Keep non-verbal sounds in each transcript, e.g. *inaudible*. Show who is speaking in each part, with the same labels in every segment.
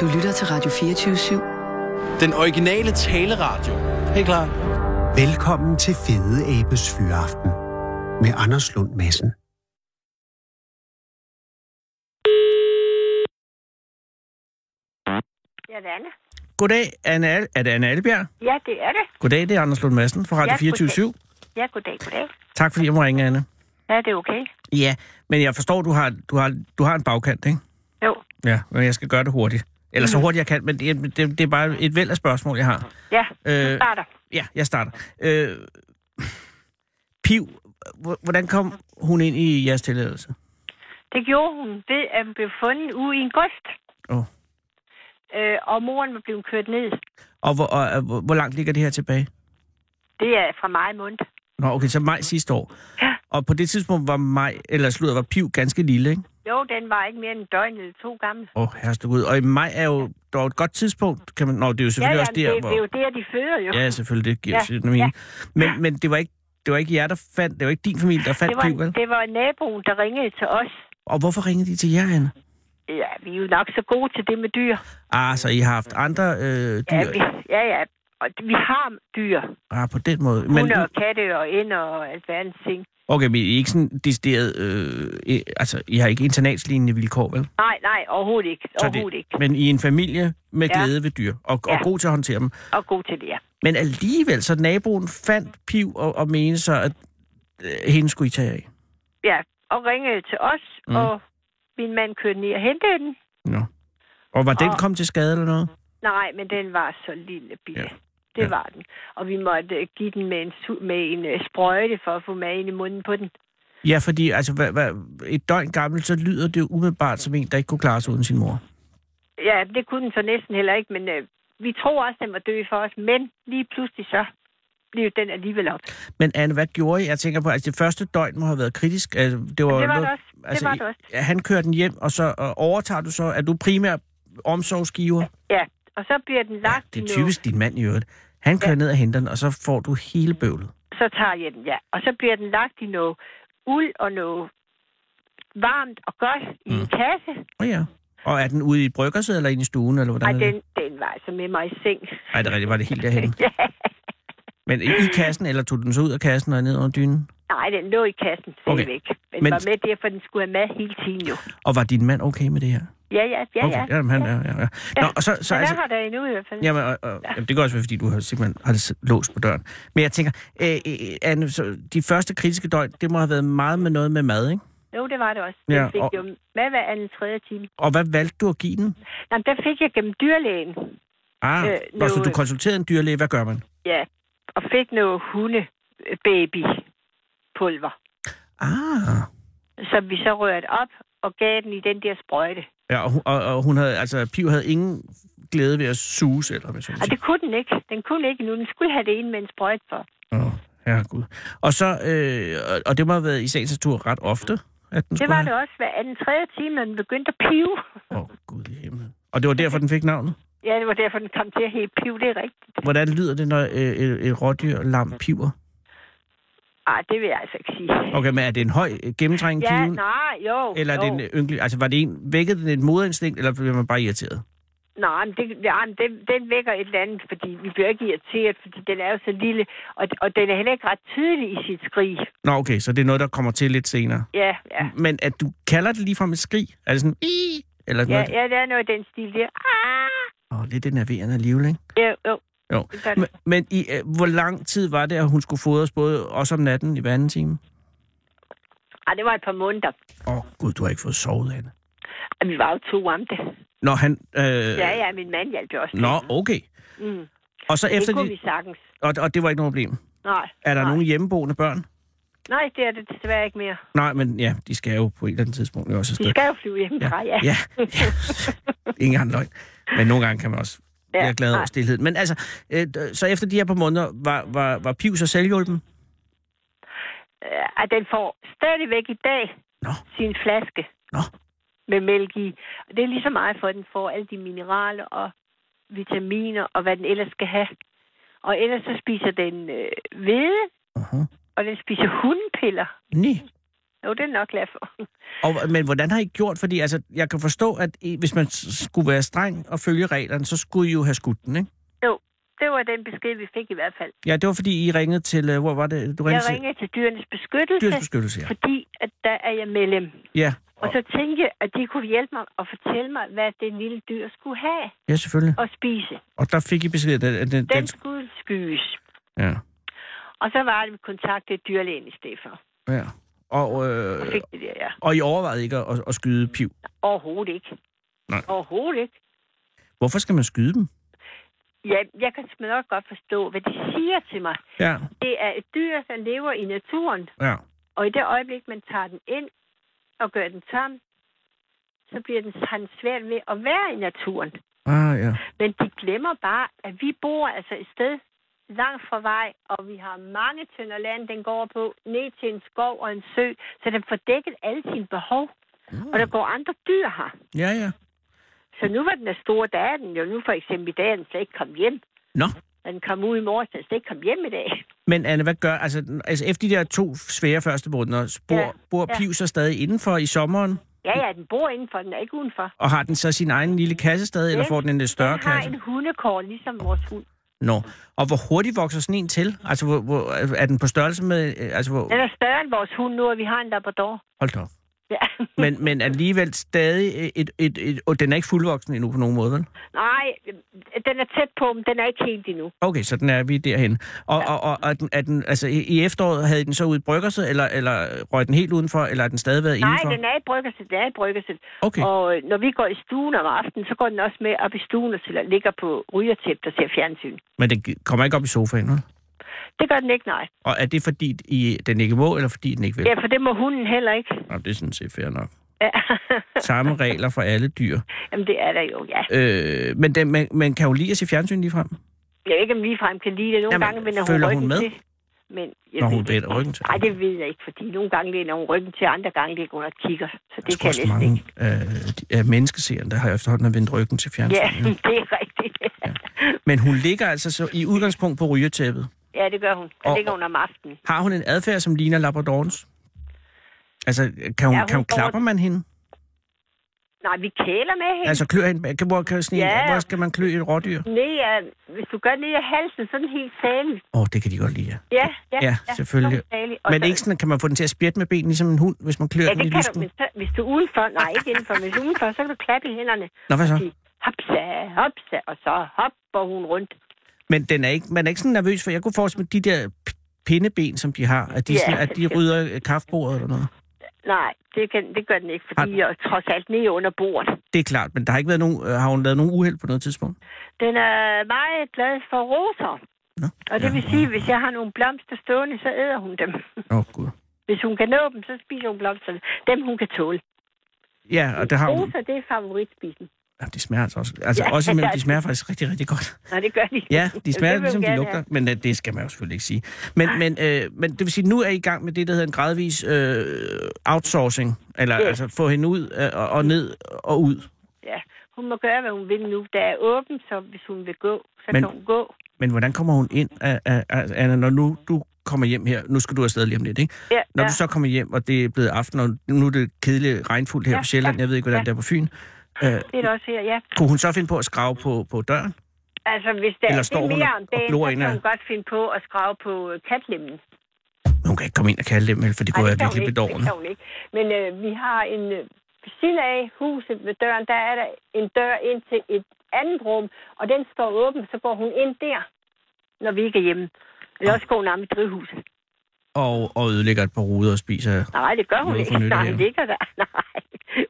Speaker 1: Du lytter til Radio 24 /7.
Speaker 2: Den originale taleradio. Helt klar.
Speaker 3: Velkommen til Fede Abes Fyraften med Anders Lund Madsen.
Speaker 4: Ja, det er det.
Speaker 5: Goddag, Anne Al- er det Anne Albjerg?
Speaker 4: Ja, det er det.
Speaker 5: Goddag, det er Anders Lund Madsen fra Radio
Speaker 4: Ja,
Speaker 5: 24 7
Speaker 4: Ja, goddag, goddag.
Speaker 5: Tak fordi jeg må ringe, Anne.
Speaker 4: Ja, det er okay.
Speaker 5: Ja, men jeg forstår, du har, du har, du har en bagkant, ikke?
Speaker 4: Jo,
Speaker 5: Ja, men jeg skal gøre det hurtigt. Eller
Speaker 4: Mhm.
Speaker 5: så hurtigt jeg kan, men det, det, det er bare et væld af spørgsmål, jeg har.
Speaker 4: ja,
Speaker 5: Øh,
Speaker 4: øh... starter.
Speaker 5: Ja, jeg starter. Øh, Piv, h- hvordan kom hun ind i jeres tilladelse?
Speaker 4: Det gjorde hun ved, at hun blev fundet ude i en gost,
Speaker 5: Oh.
Speaker 4: øh, og moren var blevet kørt ned.
Speaker 5: Og, hvor, og, og hvor- hvor langt ligger det her tilbage?
Speaker 4: Det er fra mig mund.
Speaker 5: Nå, okay, så maj sidste år.
Speaker 4: Ja.
Speaker 5: Og på det tidspunkt var maj, eller slutter, var Piv ganske lille, ikke?
Speaker 4: Jo, den var ikke mere end en døgn eller to gammel.
Speaker 5: Åh, oh, herreste Gud. Og i maj er jo dog et godt tidspunkt. Kan man... Nå, det er jo
Speaker 4: Ja,
Speaker 5: selvfølgelig
Speaker 4: ja,
Speaker 5: også
Speaker 4: det,
Speaker 5: der,
Speaker 4: det,
Speaker 5: hvor...
Speaker 4: det, er jo der, de føder jo.
Speaker 5: Ja, selvfølgelig, det giver
Speaker 4: Ja,
Speaker 5: ja. mening. Ja. Men, men det var ikke det var ikke jer, der fandt, det var ikke din familie, der fandt
Speaker 4: det, var,
Speaker 5: Piv, vel?
Speaker 4: det var naboen, der ringede til os.
Speaker 5: Og hvorfor ringede de til jer, Anne?
Speaker 4: Ja, vi er jo nok så gode til det med dyr.
Speaker 5: Ah, så I har haft andre øh, dyr
Speaker 4: Ja, vi, ja, ja. Og vi har dyr.
Speaker 5: ah, på den måde. Men,
Speaker 4: Hunde og katte og ender og alverdens ting.
Speaker 5: okay, men I er ikke sådan decideret... Øh, I, altså, I har ikke internatslignende vilkår, vel?
Speaker 4: Nej, nej, overhovedet ikke.
Speaker 5: Så
Speaker 4: Overhovedet ikke.
Speaker 5: Men I er en familie med
Speaker 4: Ja.
Speaker 5: glæde ved dyr, og, og
Speaker 4: Ja.
Speaker 5: god til at håndtere dem.
Speaker 4: Og god til det, ja.
Speaker 5: Men alligevel, så naboen fandt Piv og, og mente så, at øh, hende skulle I tage af.
Speaker 4: ja, og ringede til os,
Speaker 5: Mm.
Speaker 4: mm. og min mand kørte ned og hentede den.
Speaker 5: Nå. Og var den
Speaker 4: Og-
Speaker 5: kommet til skade eller noget?
Speaker 4: Nej, men den var så lille bil.
Speaker 5: Ja.
Speaker 4: Ja. Det
Speaker 5: Ja.
Speaker 4: ja. var den. Og vi måtte øh, give den med en, su- med en øh, sprøjte for at få mad ind i munden på den.
Speaker 5: Ja, fordi altså, hvad, hvad, et døgn gammel, så lyder det jo umiddelbart som en, der ikke kunne klare sig uden sin mor.
Speaker 4: Ja, det kunne den så næsten heller ikke, men øh, vi tror også, den var død for os. Men lige pludselig så blev den alligevel op.
Speaker 5: Men Anne, hvad gjorde I? Jeg tænker på, at altså, det første døgn må have været kritisk. Altså, det, var
Speaker 4: Men det var
Speaker 5: noget-
Speaker 4: det også. Det var det også.
Speaker 5: I- Han kører den hjem, og så og overtager du så, at du primær omsorgsgiver.
Speaker 4: Ja, og så bliver den lagt i
Speaker 5: det er
Speaker 4: noget-
Speaker 5: typisk din mand i øvrigt. Han kører ja. ned og henter den, og så får du hele bøvlet.
Speaker 4: Så tager jeg den, ja. Og så bliver den lagt i noget uld og noget varmt og godt i en kasse.
Speaker 5: Oh, ja. Og er den ude i bryggersædet eller inde i stuen, eller hvordan
Speaker 4: Ej,
Speaker 5: er det?
Speaker 4: den, den var altså med mig i seng.
Speaker 5: Ej, det er rigtigt, var det helt
Speaker 4: *laughs*
Speaker 5: derhen. Men i i kassen, eller tog du den så ud af kassen og ned under dynen?
Speaker 4: Nej, den lå i kassen
Speaker 5: Okay.
Speaker 4: stadigvæk. Den
Speaker 5: Men-
Speaker 4: Men... var med der, for den skulle have mad hele tiden jo.
Speaker 5: Og var din mand okay med det her?
Speaker 4: Ja, ja, ja, ja.
Speaker 5: Okay, jamen, han er, ja, ja. Nå, og så, så
Speaker 4: Men
Speaker 5: altså,
Speaker 4: der har der endnu i hvert fald.
Speaker 5: jamen, og, og, jamen, det kan også være, fordi du har simpelthen har det låst på døren. Men jeg tænker, øh, øh, Anne, så de første kritiske døgn, det må have været meget med noget med mad, ikke?
Speaker 4: Jo, det var det også. Den
Speaker 5: Ja,
Speaker 4: ja, fik
Speaker 5: og-
Speaker 4: og... jo mad hver anden tredje time.
Speaker 5: Og hvad valgte du at give den?
Speaker 4: Jamen, der fik jeg gennem dyrlægen,
Speaker 5: Ah, øh,
Speaker 4: Øh,
Speaker 5: når så
Speaker 4: noget-
Speaker 5: du konsulterede en dyrlæge, hvad gør man?
Speaker 4: ja, og fik noget hundebabypulver,
Speaker 5: Ah,
Speaker 4: som vi så rørte op og gav den i den der sprøjte.
Speaker 5: ja, og, hun- og, og hun havde, altså, Piv havde ingen glæde ved at suse, eller hvad sådan
Speaker 4: Og det kunne den ikke. Den kunne ikke nu. Den skulle have det ind med en sprøjte for.
Speaker 5: Åh, oh, herregud. Og så, øh, og- og det må have været i sagens natur ret ofte, at den
Speaker 4: Det
Speaker 5: skulle
Speaker 4: var det også hver anden tredje time, når den begyndte at pive.
Speaker 5: Åh, oh, gud i himlen. Og det var derfor, den fik navnet?
Speaker 4: Ja, det var derfor, den kom til at hæve piv. Det er rigtigt.
Speaker 5: Hvordan lyder det, når øh, et, et rådyr lam piver?
Speaker 4: Ej, det vil jeg altså ikke sige.
Speaker 5: Okay, men er det en høj øh, gennemtrængende
Speaker 4: Ja,
Speaker 5: piven?
Speaker 4: nej, jo.
Speaker 5: eller er
Speaker 4: jo.
Speaker 5: det en ynglig... Altså, var det en, vækkede den et moderinstinkt, eller blev man bare irriteret?
Speaker 4: Nej, men det, ja, men den, den vækker et eller andet, fordi vi bliver ikke irriteret, fordi den er jo så lille, og, og den er heller ikke ret tydelig i sit skrig.
Speaker 5: Nå, okay, så det er noget, der kommer til lidt senere.
Speaker 4: Ja, ja.
Speaker 5: Men at du kalder det ligefrem et skrig? Er det sådan... "Ii", Eller sådan
Speaker 4: Ja,
Speaker 5: noget?
Speaker 4: ja, der er noget i den stil der. Ah!
Speaker 5: Åh, lidt enerverende alligevel, ikke?
Speaker 4: Ja, jo.
Speaker 5: Jo.
Speaker 4: Det gør det.
Speaker 5: Men, men i, øh, hvor lang tid var det, at hun skulle fodres både også om natten i hver anden time?
Speaker 4: Ej, det var et par måneder.
Speaker 5: Åh, oh, gud, du har ikke fået sovet, Anne.
Speaker 4: Og vi var jo to om det.
Speaker 5: Nå, han... Øh,
Speaker 4: Ja, ja, min mand hjalp jo også.
Speaker 5: Nå, okay.
Speaker 4: Mm.
Speaker 5: Og så efter
Speaker 4: Det kunne
Speaker 5: det,
Speaker 4: vi sagtens.
Speaker 5: og, og det var ikke noget problem.
Speaker 4: Nej,
Speaker 5: Er der
Speaker 4: nej.
Speaker 5: nogen hjemmeboende børn?
Speaker 4: Nej, det er det desværre ikke mere.
Speaker 5: Nej, men ja, de skal jo på et eller andet tidspunkt jo også
Speaker 4: De
Speaker 5: afsted.
Speaker 4: skal jo flyve hjemmefra, ja.
Speaker 5: Ja, ja. ingen anden løgn. Men nogle gange kan man også
Speaker 4: Ja,
Speaker 5: være glad over
Speaker 4: nej.
Speaker 5: stillheden. Men altså, øh, d- så efter de her par måneder, var, var, var Piv så selvhjulpen?
Speaker 4: Øh, At den får stadigvæk i dag
Speaker 5: Nå.
Speaker 4: sin flaske
Speaker 5: Nå.
Speaker 4: med mælk i. Og det er lige så meget for, at den får alle de mineraler og vitaminer og hvad den ellers skal have. Og ellers så spiser den øh, hvede,
Speaker 5: Uh-huh.
Speaker 4: og den spiser hundpiller.
Speaker 5: Nej.
Speaker 4: Jo, det er nok glad for.
Speaker 5: Og, men hvordan har I gjort? Fordi altså, jeg kan forstå, at I, hvis man s- skulle være streng og følge reglerne, så skulle I jo have skudt den, ikke?
Speaker 4: *laughs* Jo, det var den besked, vi fik i hvert fald.
Speaker 5: Ja, det var fordi, I ringede til... øh, Hvor var det? Du ringede
Speaker 4: Jeg ringede til dyrenes beskyttelse,
Speaker 5: til Dyrsbeskyttelse,
Speaker 4: *laughs*
Speaker 5: ja.
Speaker 4: fordi at der er jeg medlem.
Speaker 5: Ja,
Speaker 4: Og så tænkte jeg, at de kunne hjælpe mig og fortælle mig, hvad det lille dyr skulle have
Speaker 5: ja, selvfølgelig.
Speaker 4: og spise.
Speaker 5: Og der fik I besked, at den... den,
Speaker 4: Den
Speaker 5: den
Speaker 4: skulle skydes.
Speaker 5: ja,
Speaker 4: Og så var det, vi kontaktede dyrlægen i stedet for.
Speaker 5: ja. Og,
Speaker 4: Og
Speaker 5: øh,
Speaker 4: fik det der, ja.
Speaker 5: og I overvejede ikke at, at skyde piv.
Speaker 4: Overhovedet ikke.
Speaker 5: Nej.
Speaker 4: Overhovedet ikke.
Speaker 5: Hvorfor skal man skyde dem?
Speaker 4: Ja, jeg kan simpelthen også godt forstå, hvad de siger til mig.
Speaker 5: Ja,
Speaker 4: Det er et dyr, der lever i naturen,
Speaker 5: ja.
Speaker 4: og i det øjeblik, man tager den ind og gør den tam, så bliver den han svært ved at være i naturen.
Speaker 5: Ah, ja.
Speaker 4: Men de glemmer bare, at vi bor altså et sted langt fra vej, og vi har mange tynder land, den går på, ned til en skov og en sø, så den får dækket alle sine behov. Og der går andre dyr her.
Speaker 5: Ja, ja.
Speaker 4: Så nu var den er stor, der er den jo nu for eksempel i dag, er den slet ikke kom hjem.
Speaker 5: Nå.
Speaker 4: Da Den kom ud i morges, den er slet ikke kom hjem i dag.
Speaker 5: Men Anne, hvad gør... Altså, n- altså efter de der to svære første måneder, bor, ja.
Speaker 4: Ja,
Speaker 5: bor
Speaker 4: ja.
Speaker 5: piv så stadig indenfor i sommeren?
Speaker 4: Ja, ja, den bor indenfor, den er ikke udenfor.
Speaker 5: Og har den så sin egen lille kasse stadig, eller
Speaker 4: Den-
Speaker 5: får den en lidt større
Speaker 4: Den har
Speaker 5: kasse?
Speaker 4: en hundekår, ligesom vores hund.
Speaker 5: Nå. Og hvor hurtigt vokser sådan en til? Altså, hvor, hvor, er den på størrelse med... øh, Altså, hvor,
Speaker 4: Den er større end vores hund nu, og vi har en Labrador.
Speaker 5: hold da op.
Speaker 4: Ja.
Speaker 5: Men, men alligevel stadig et, et, et, og den er ikke fuldvoksen endnu på nogen måde, vel?
Speaker 4: *laughs* Nej, den er tæt på, men den er ikke helt endnu.
Speaker 5: Okay, så den er vi derhen. Og, ja. og, og er den, er den, altså, i i efteråret havde I den så ud i bryggerset, eller, eller røg den helt udenfor, eller har den stadig været
Speaker 4: Nej,
Speaker 5: indenfor?
Speaker 4: den er i bryggerset, den er i bryggerset.
Speaker 5: Okay.
Speaker 4: Og øh, når vi går i stuen om aftenen, så går den også med op i stuen og sidder- ligger på rygertæp, der ser fjernsyn.
Speaker 5: Men den gi- kommer ikke op i sofaen, vel?
Speaker 4: Det gør den ikke, nej.
Speaker 5: Og er det fordi, I, den ikke må, eller fordi den ikke vil?
Speaker 4: Ja, for det må hunden heller ikke.
Speaker 5: Nå, det er sådan set fair nok.
Speaker 4: Ja. *laughs*
Speaker 5: Samme *laughs* regler for alle dyr.
Speaker 4: Jamen, det er der jo, ja.
Speaker 5: Øh, men den, man, man kan jo lide at se fjernsyn ligefrem.
Speaker 4: Jeg ved ikke, om ligefrem kan lide det. Nogle
Speaker 5: Jamen,
Speaker 4: gange vender hun
Speaker 5: følger
Speaker 4: ryggen
Speaker 5: hun med?
Speaker 4: til. Men jeg
Speaker 5: Når
Speaker 4: ved
Speaker 5: hun
Speaker 4: det
Speaker 5: vender
Speaker 4: ikke.
Speaker 5: ryggen til?
Speaker 4: Nej, det ved jeg ikke, fordi nogle gange læner hun ryggen til, andre gange ligger hun og kigger. Så det
Speaker 5: Jeg tror
Speaker 4: kan jeg
Speaker 5: også
Speaker 4: næsten ikke.
Speaker 5: mange af, de- af menneskeseerne, der har efterhånden vendt ryggen til fjernsyn.
Speaker 4: Ja,
Speaker 5: jo.
Speaker 4: *laughs* det er rigtigt.
Speaker 5: Men hun ligger altså så i udgangspunkt på rygetæppet.
Speaker 4: Ja, det gør hun. Der
Speaker 5: Og-
Speaker 4: ligger hun om aftenen.
Speaker 5: Har hun en adfærd, som ligner Labradorens? Altså, kan hun,
Speaker 4: Ja,
Speaker 5: ja,
Speaker 4: hun
Speaker 5: kan hun
Speaker 4: går-
Speaker 5: klapper man hende?
Speaker 4: Nej, vi kæler med hende. Altså...
Speaker 5: Altså, klør hende? Kan, hvor, kan sådan en,
Speaker 4: Ja.
Speaker 5: hvor skal man klø et rådyr?
Speaker 4: Ned af, hvis du gør ned af halsen, sådan helt salig.
Speaker 5: Åh, oh, det kan de godt lide. ja.
Speaker 4: Ja, ja,
Speaker 5: Ja, selvfølgelig.
Speaker 4: sådan salig. Og
Speaker 5: Men det
Speaker 4: så-
Speaker 5: er ikke sådan, at kan man få den til at spjætte med benene, ligesom en hund, hvis man klør
Speaker 4: Ja,
Speaker 5: den i
Speaker 4: det kan du,
Speaker 5: lysken?
Speaker 4: men så, hvis du er udenfor, nej, ikke indenfor, men hvis du er udenfor, så kan du klappe i hænderne.
Speaker 5: Nå, hvad
Speaker 4: Og
Speaker 5: så?
Speaker 4: sige, hopsa, hopsa, og så hopper hun rundt.
Speaker 5: Men den er ikke, man er ikke sådan nervøs, for jeg kunne forestille mig, de der p- pindeben, som de har, at de,
Speaker 4: Ja.
Speaker 5: sådan, at de rydder øh, kaffebordet eller noget.
Speaker 4: Nej, det, kan, det gør den ikke, fordi
Speaker 5: Har-
Speaker 4: jeg er trods alt nede under bordet.
Speaker 5: Det er klart, men der har ikke været nogen, øh, har hun lavet nogen uheld på noget tidspunkt?
Speaker 4: Den er meget glad for roser.
Speaker 5: Nå,
Speaker 4: Og det
Speaker 5: ja.
Speaker 4: vil sige, at hvis jeg har nogle blomster stående, så æder hun dem. *laughs*
Speaker 5: Åh, oh, gud.
Speaker 4: Hvis hun kan nå dem, så spiser hun blomsterne. Dem, hun kan tåle.
Speaker 5: Ja, og det har hun.
Speaker 4: Roser, det er favoritspisen.
Speaker 5: Ja, de smager altså også. Altså,
Speaker 4: *laughs* Ja.
Speaker 5: også imellem, de smager faktisk rigtig, rigtig godt.
Speaker 4: Nej, det gør de. *laughs*
Speaker 5: Ja, de
Speaker 4: vil
Speaker 5: smager
Speaker 4: vi jo
Speaker 5: ligesom de
Speaker 4: gerne
Speaker 5: lugter,
Speaker 4: have.
Speaker 5: men øh, det skal man jo selvfølgelig ikke sige. Men, men, øh, men det vil sige, nu er I i gang med det, der hedder en gradvis øh, outsourcing, eller
Speaker 4: Ja.
Speaker 5: altså få hende ud øh, og, og ned og ud.
Speaker 4: Ja, hun må gøre, hvad hun vil nu. Der er åbent, så hvis hun vil gå, så
Speaker 5: Men-
Speaker 4: Men... kan hun gå.
Speaker 5: Men hvordan kommer hun ind, af, af, af, Anna, når nu du kommer hjem her? Nu skal du afsted lige om lidt, ikke?
Speaker 4: Ja,
Speaker 5: Når
Speaker 4: ja.
Speaker 5: du så kommer hjem, og det er blevet aften, og nu er det kedeligt regnfuldt her
Speaker 4: Ja,
Speaker 5: på Sjælland,
Speaker 4: ja,
Speaker 5: jeg ved ikke, hvordan
Speaker 4: ja.
Speaker 5: det er på Fyn. Øh,
Speaker 4: Det er det også her, ja.
Speaker 5: kunne hun så finde på at skrave på, på døren?
Speaker 4: Altså, hvis der
Speaker 5: Eller
Speaker 4: er
Speaker 5: står
Speaker 4: det
Speaker 5: hun
Speaker 4: mere
Speaker 5: og-
Speaker 4: om
Speaker 5: og glor
Speaker 4: dagen, så
Speaker 5: ind af-
Speaker 4: kan hun godt finde på at skrave på øh, katlemmen.
Speaker 5: Men hun kan ikke komme ind og kalde dem, vel, for det
Speaker 4: Ej,
Speaker 5: kunne være
Speaker 4: kan hun
Speaker 5: virkelig
Speaker 4: ikke, det
Speaker 5: bedårende.
Speaker 4: kan hun ikke. Men øh, vi har en... Øh, ved siden af huset ved døren, der er der en dør ind til et andet rum, og den står åben, så går hun ind der, når vi ikke er hjemme. Eller også går hun om i drivhuset.
Speaker 5: Og, og ødelægger et par ruder og spiser...
Speaker 4: Nej, det gør hun
Speaker 5: Noget for
Speaker 4: ikke.
Speaker 5: nytte
Speaker 4: Nej,
Speaker 5: her.
Speaker 4: hun ligger der. *laughs* Nej,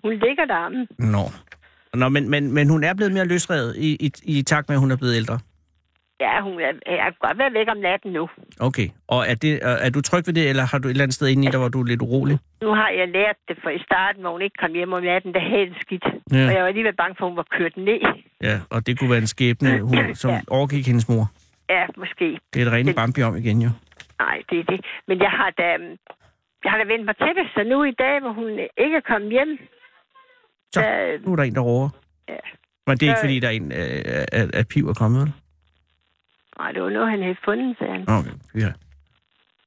Speaker 4: hun ligger der. Mm.
Speaker 5: Nå. Nå, men, men, men hun er blevet mere løsrevet i, i, i takt med, at hun er blevet ældre.
Speaker 4: Ja, hun er, jeg kan godt være væk om natten nu.
Speaker 5: Okay. Og er, det, er- er du tryg ved det, eller har du et eller andet sted inde i dig, hvor du er lidt urolig?
Speaker 4: Nu har jeg lært det, for i starten, hvor hun ikke kom hjem om natten, der havde det skidt.
Speaker 5: Ja.
Speaker 4: Og jeg var alligevel bange for, at hun var kørt ned.
Speaker 5: Ja, og det kunne være en skæbne, hun, som
Speaker 4: Ja.
Speaker 5: overgik hendes mor.
Speaker 4: Ja, måske.
Speaker 5: Det er et rene
Speaker 4: Det-
Speaker 5: Bambi om igen, jo.
Speaker 4: Nej, det er det. Men jeg har da, øhm, jeg har da vendt mig til det, så nu i dag, hvor hun ikke er kommet hjem,
Speaker 5: Så,
Speaker 4: der,
Speaker 5: nu er der en, der råber.
Speaker 4: Ja.
Speaker 5: Men det er ikke,
Speaker 4: Så-
Speaker 5: fordi der er en, øh, at, at Piv er kommet, vel?
Speaker 4: nej, det var noget, han havde fundet, sagde han.
Speaker 5: Okay, ja.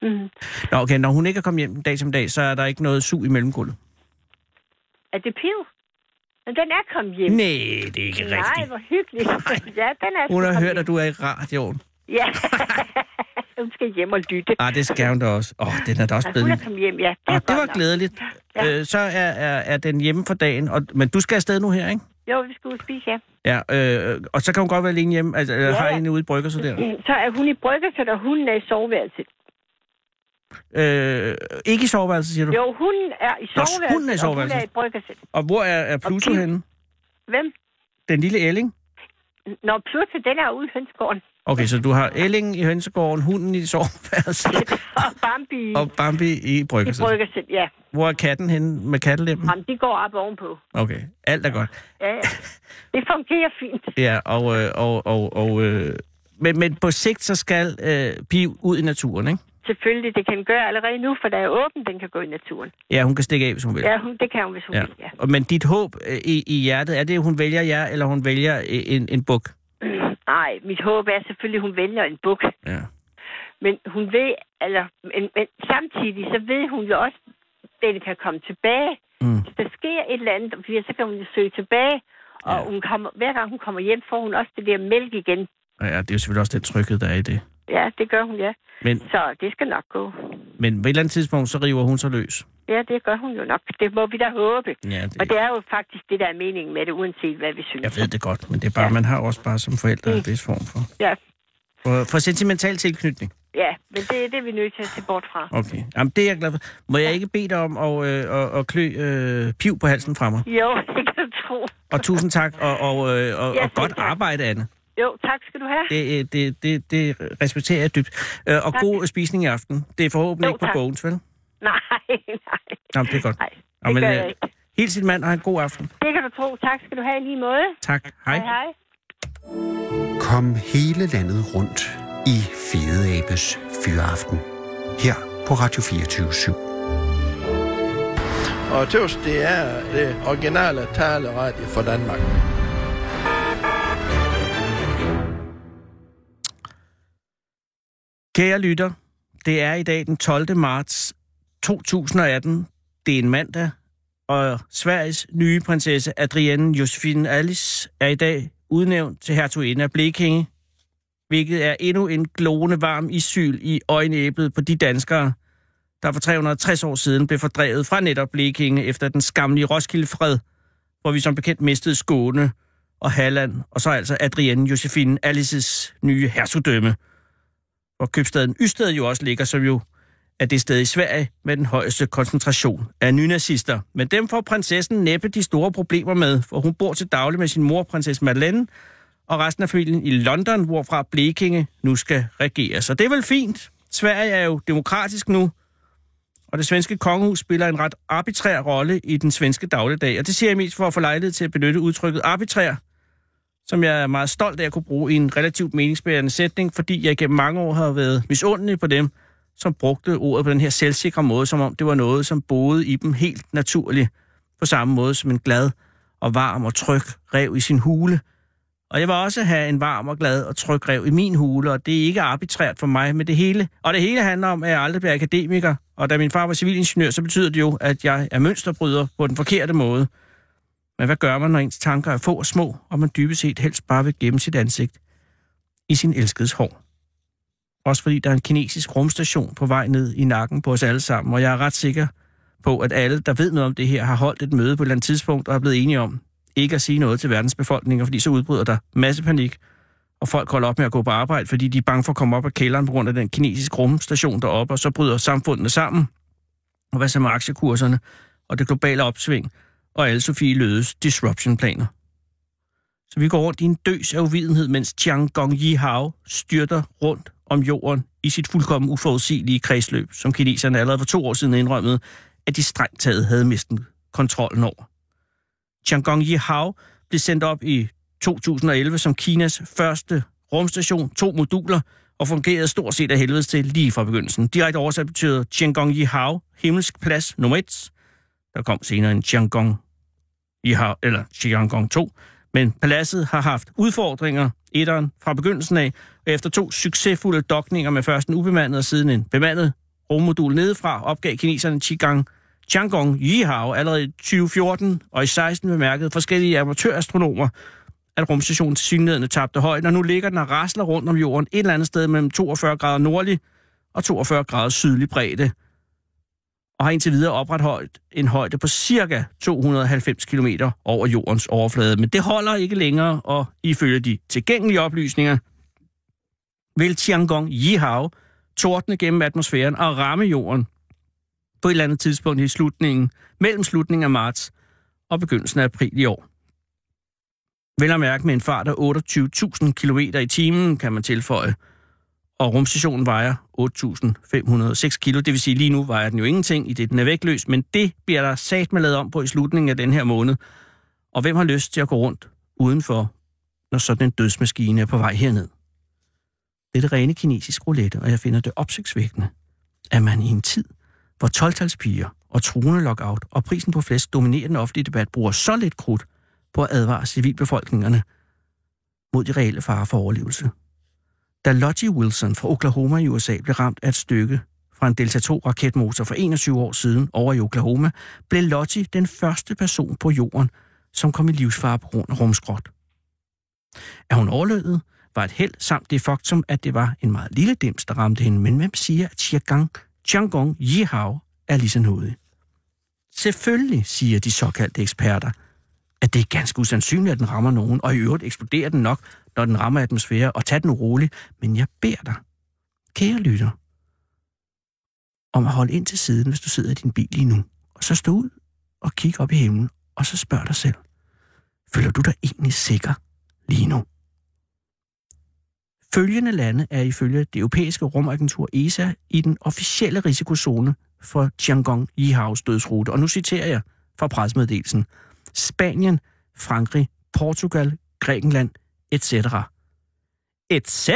Speaker 4: Mm.
Speaker 5: Nå, okay, når hun ikke er kommet hjem en dag som dag, så er der ikke noget sug i mellemgulvet.
Speaker 4: Er det piv? Men den er kommet hjem.
Speaker 5: Nej, det er ikke
Speaker 4: Nej,
Speaker 5: rigtigt.
Speaker 4: hvor hyggeligt. *laughs* ja, den er
Speaker 5: Hun
Speaker 4: sgu
Speaker 5: har
Speaker 4: kommet
Speaker 5: hørt, at du er i radioen.
Speaker 4: hjem. Ja. *laughs* hun skal hjem og lytte.
Speaker 5: Ah, det skal hun da også. Åh, oh, den er da også
Speaker 4: Altså, hun
Speaker 5: blevet...
Speaker 4: er kommet hjem, ja.
Speaker 5: Ah,
Speaker 4: godt
Speaker 5: det var
Speaker 4: nok.
Speaker 5: glædeligt.
Speaker 4: Ja.
Speaker 5: Øh, så er, er, er den hjemme for dagen, og, men du skal afsted nu her, ikke?
Speaker 4: Jo, vi skal ud og spise, ja.
Speaker 5: Ja, øh, og så kan hun godt være alene hjemme. Altså, ja. har
Speaker 4: ja.
Speaker 5: en ude i brygger, så der.
Speaker 4: Mm, Så er hun i bryggerset, og hunden er i soveværelset.
Speaker 5: Øh, ikke i soveværelset, siger du?
Speaker 4: Jo, hunden er i
Speaker 5: Nå,
Speaker 4: soveværelset,
Speaker 5: hunden er
Speaker 4: og hun er
Speaker 5: i soveværelset.
Speaker 4: i bryggerset.
Speaker 5: Og hvor er, er Pluto
Speaker 4: Pluto.
Speaker 5: henne?
Speaker 4: Hvem?
Speaker 5: Den lille Elling?
Speaker 4: Når Pluto, den er ude i hønsgården. *laughs*
Speaker 5: Okay, så du har Elling i hønsegården, hunden i
Speaker 4: *laughs*
Speaker 5: soveværelset,
Speaker 4: og Bambi i,
Speaker 5: og Bambi i
Speaker 4: i
Speaker 5: bryggerset.
Speaker 4: bryggerset, ja.
Speaker 5: Hvor er katten henne med kattelemmen?
Speaker 4: Jamen, de går op ovenpå.
Speaker 5: Okay, alt er godt.
Speaker 4: Ja, ja. Det fungerer fint.
Speaker 5: Ja, og... Øh, og, og, og øh, men, men på sigt, så skal øh, Piv ud i naturen, ikke?
Speaker 4: Selvfølgelig, det kan den gøre allerede nu, for der er åbent, den kan gå i naturen.
Speaker 5: Ja, hun kan stikke af, hvis hun vil.
Speaker 4: Ja, hun, det kan hun, hvis hun ja. vil, ja. *clears throat*
Speaker 5: Og, men dit håb øh, i, i hjertet, er det, at hun vælger jer, eller hun vælger øh, en, en buk?
Speaker 4: Nej, mit håb er selvfølgelig, at hun vælger en buk.
Speaker 5: Ja.
Speaker 4: Men hun ved, eller, men, men samtidig så ved hun jo også, at den kan komme tilbage.
Speaker 5: Mm.
Speaker 4: Hvis der sker et eller andet, fordi så kan hun jo søge tilbage. Og
Speaker 5: Ja.
Speaker 4: ja. hun kommer, hver gang hun kommer hjem, får hun også det der mælk igen.
Speaker 5: Og ja, det er jo selvfølgelig også den tryghed, der er i det.
Speaker 4: Ja, det gør hun, ja.
Speaker 5: Men,
Speaker 4: Så det skal nok gå.
Speaker 5: men på et eller andet tidspunkt, så river hun sig løs.
Speaker 4: Ja, det gør hun jo nok. Det må vi da håbe.
Speaker 5: Ja,
Speaker 4: Og det er jo faktisk det, der er meningen med det, uanset hvad vi synes.
Speaker 5: Jeg ved det godt, men det er bare, ja. man har også bare som forældre en vis form for,
Speaker 4: Ja,
Speaker 5: for, for sentimental tilknytning.
Speaker 4: ja men det, er det er vi nødt til at se bort fra.
Speaker 5: Okay. Jamen, det er jeg glad for. Må jeg ikke bede dig om at, øh, at, at klø øh, piv på halsen fra mig?
Speaker 4: Jo, *laughs* det kan du tro.
Speaker 5: Og tusind tak, og, og, øh, og,
Speaker 4: Ja,
Speaker 5: og godt
Speaker 4: selv tak.
Speaker 5: arbejde, Anne.
Speaker 4: Jo, tak skal du have.
Speaker 5: Det, øh, det, det, det respekterer jeg dybt. Øh, og
Speaker 4: Tak.
Speaker 5: god spisning i aften. Det er forhåbentlig
Speaker 4: Jo,
Speaker 5: ikke på
Speaker 4: tak.
Speaker 5: bogens, vel?
Speaker 4: Nej, nej,
Speaker 5: Nå, men det er godt.
Speaker 4: nej.
Speaker 5: Nå, men,
Speaker 4: gør jeg ikke.
Speaker 5: hils din mand, og have en god aften.
Speaker 4: Det kan du tro. Tak skal du have i lige måde.
Speaker 5: Tak. Hej.
Speaker 4: Hej, hej.
Speaker 3: Kom hele landet rundt i Fede Abes Fyraften. Her på Radio 24 /7.
Speaker 1: Og tøs, det er det originale taleradio for Danmark.
Speaker 5: Kære lytter, det er i dag den 12. marts 2018. Det er en mandag, og Sveriges nye prinsesse Adrienne Josefine Alice er i dag udnævnt til hertuginde af Blekinge, hvilket er endnu en glående varm isyl i øjenæblet på de danskere, der for 360 år siden blev fordrevet fra netop Blekinge efter den skamlige Roskildefred, hvor vi som bekendt mistede Skåne og Halland, og så altså Adrienne Josefine Alices nye hertugdømme hvor købstaden Ysted jo også ligger, som jo er det sted i Sverige med den højeste koncentration af nynazister. Men dem får prinsessen næppe de store problemer med, for hun bor til daglig med sin mor, prinsesse Madeleine, og resten af familien i London, hvorfra Blekinge nu skal regere. Så det er vel fint. Sverige er jo demokratisk nu, og det svenske kongehus spiller en ret arbitrær rolle i den svenske dagligdag. Og det siger jeg mest for at få lejlighed til at benytte udtrykket arbitrær, som jeg er meget stolt af at kunne bruge i en relativt meningsbærende sætning, fordi jeg gennem mange år har været misundelig på dem, som brugte ordet på den her selvsikre måde, som om det var noget, som boede i dem helt naturligt, på samme måde som en glad og varm og tryg rev i sin hule. Og jeg vil også have en varm og glad og tryg rev i min hule, og det er ikke arbitrært for mig med det hele. Og det hele handler om, at jeg aldrig bliver akademiker, og da min far var civilingeniør, så betyder det jo, at jeg er mønsterbryder på den forkerte måde. Men hvad gør man, når ens tanker er få og små, og man dybest set helst bare vil gemme sit ansigt i sin elskedes hår? Også fordi der er en kinesisk rumstation på vej ned i nakken på os alle sammen, og jeg er ret sikker på, at alle, der ved noget om det her, har holdt et møde på et eller andet tidspunkt og er blevet enige om ikke at sige noget til verdens befolkninger, fordi så udbryder der masse panik, og folk holder op med at gå på arbejde, fordi de er bange for at komme op af kælderen på grund af den kinesiske rumstation deroppe, og så bryder samfundene sammen. Og hvad så med aktiekurserne og det globale opsving? og alle Sofie Lødes disruption-planer. Så vi går rundt i en døs af uvidenhed, mens Chiang Gong Yi Hao styrter rundt om jorden i sit fuldkommen uforudsigelige kredsløb, som kineserne allerede for to år siden indrømmede, at de strengt taget havde mistet kontrollen over. Chiang Gong Yi Hao blev sendt op i 2011 som Kinas første rumstation, to moduler, og fungerede stort set af helvedes til lige fra begyndelsen. Direkte oversat betyder Chiang Gong Yi Hao, himmelsk plads nummer et, der kom senere en Chiangong i har, eller Chiangong 2. Men paladset har haft udfordringer, etteren fra begyndelsen af, og efter to succesfulde dokninger med først en ubemandet og siden en bemandet rummodul nedefra, opgav kineserne Qigong Changong Yihao allerede i 2014, og i 16 bemærkede forskellige amatørastronomer, at rumstationen tilsyneladende tabte højden, og nu ligger den og rasler rundt om jorden et eller andet sted mellem 42 grader nordlig og 42 grader sydlig bredde, og har indtil videre opretholdt en højde på ca. 290 km over jordens overflade. Men det holder ikke længere, og ifølge de tilgængelige oplysninger, vil Tiangong Yihao tordne gennem atmosfæren og ramme jorden på et eller andet tidspunkt i slutningen, mellem slutningen af marts og begyndelsen af april i år. Vel at mærke med en fart af 28.000 km i timen, kan man tilføje. Og rumstationen vejer 8.506 kilo, det vil sige lige nu vejer den jo ingenting, i det den er vægtløs, men det bliver der sat med lavet om på i slutningen af den her måned. Og hvem har lyst til at gå rundt udenfor, når sådan en dødsmaskine er på vej herned? Det er det rene kinesisk roulette, og jeg finder det opsigtsvækkende, at man i en tid, hvor 12-talspiger og truende lockout og prisen på flæsk dominerer den offentlige debat, bruger så lidt krudt på at advare civilbefolkningerne mod de reelle farer for overlevelse. Da Lottie Wilson fra Oklahoma i USA blev ramt af et stykke fra en Delta 2-raketmotor for 21 år siden over i Oklahoma, blev Lottie den første person på jorden, som kom i livsfare på grund af rumskrot. Er hun overlevet, var et held, samt det faktum, at det var en meget lille dims, der ramte hende. Men hvem siger, at Chiagang, Chiangong Yihao er lige så nådig? Selvfølgelig, siger de såkaldte eksperter, at det er ganske usandsynligt, at den rammer nogen, og i øvrigt eksploderer den nok, når den rammer atmosfære, og tag den roligt. Men jeg beder dig, kære lytter, om at holde ind til siden, hvis du sidder i din bil lige nu, og så stå ud og kig op i himlen, og så spørg dig selv, føler du dig egentlig sikker lige nu? Følgende lande er ifølge det europæiske rumagentur ESA i den officielle risikozone for Tiangong Yihaos dødsrute. Og nu citerer jeg fra presmeddelelsen. Spanien, Frankrig, Portugal, Grækenland, etc. Etc.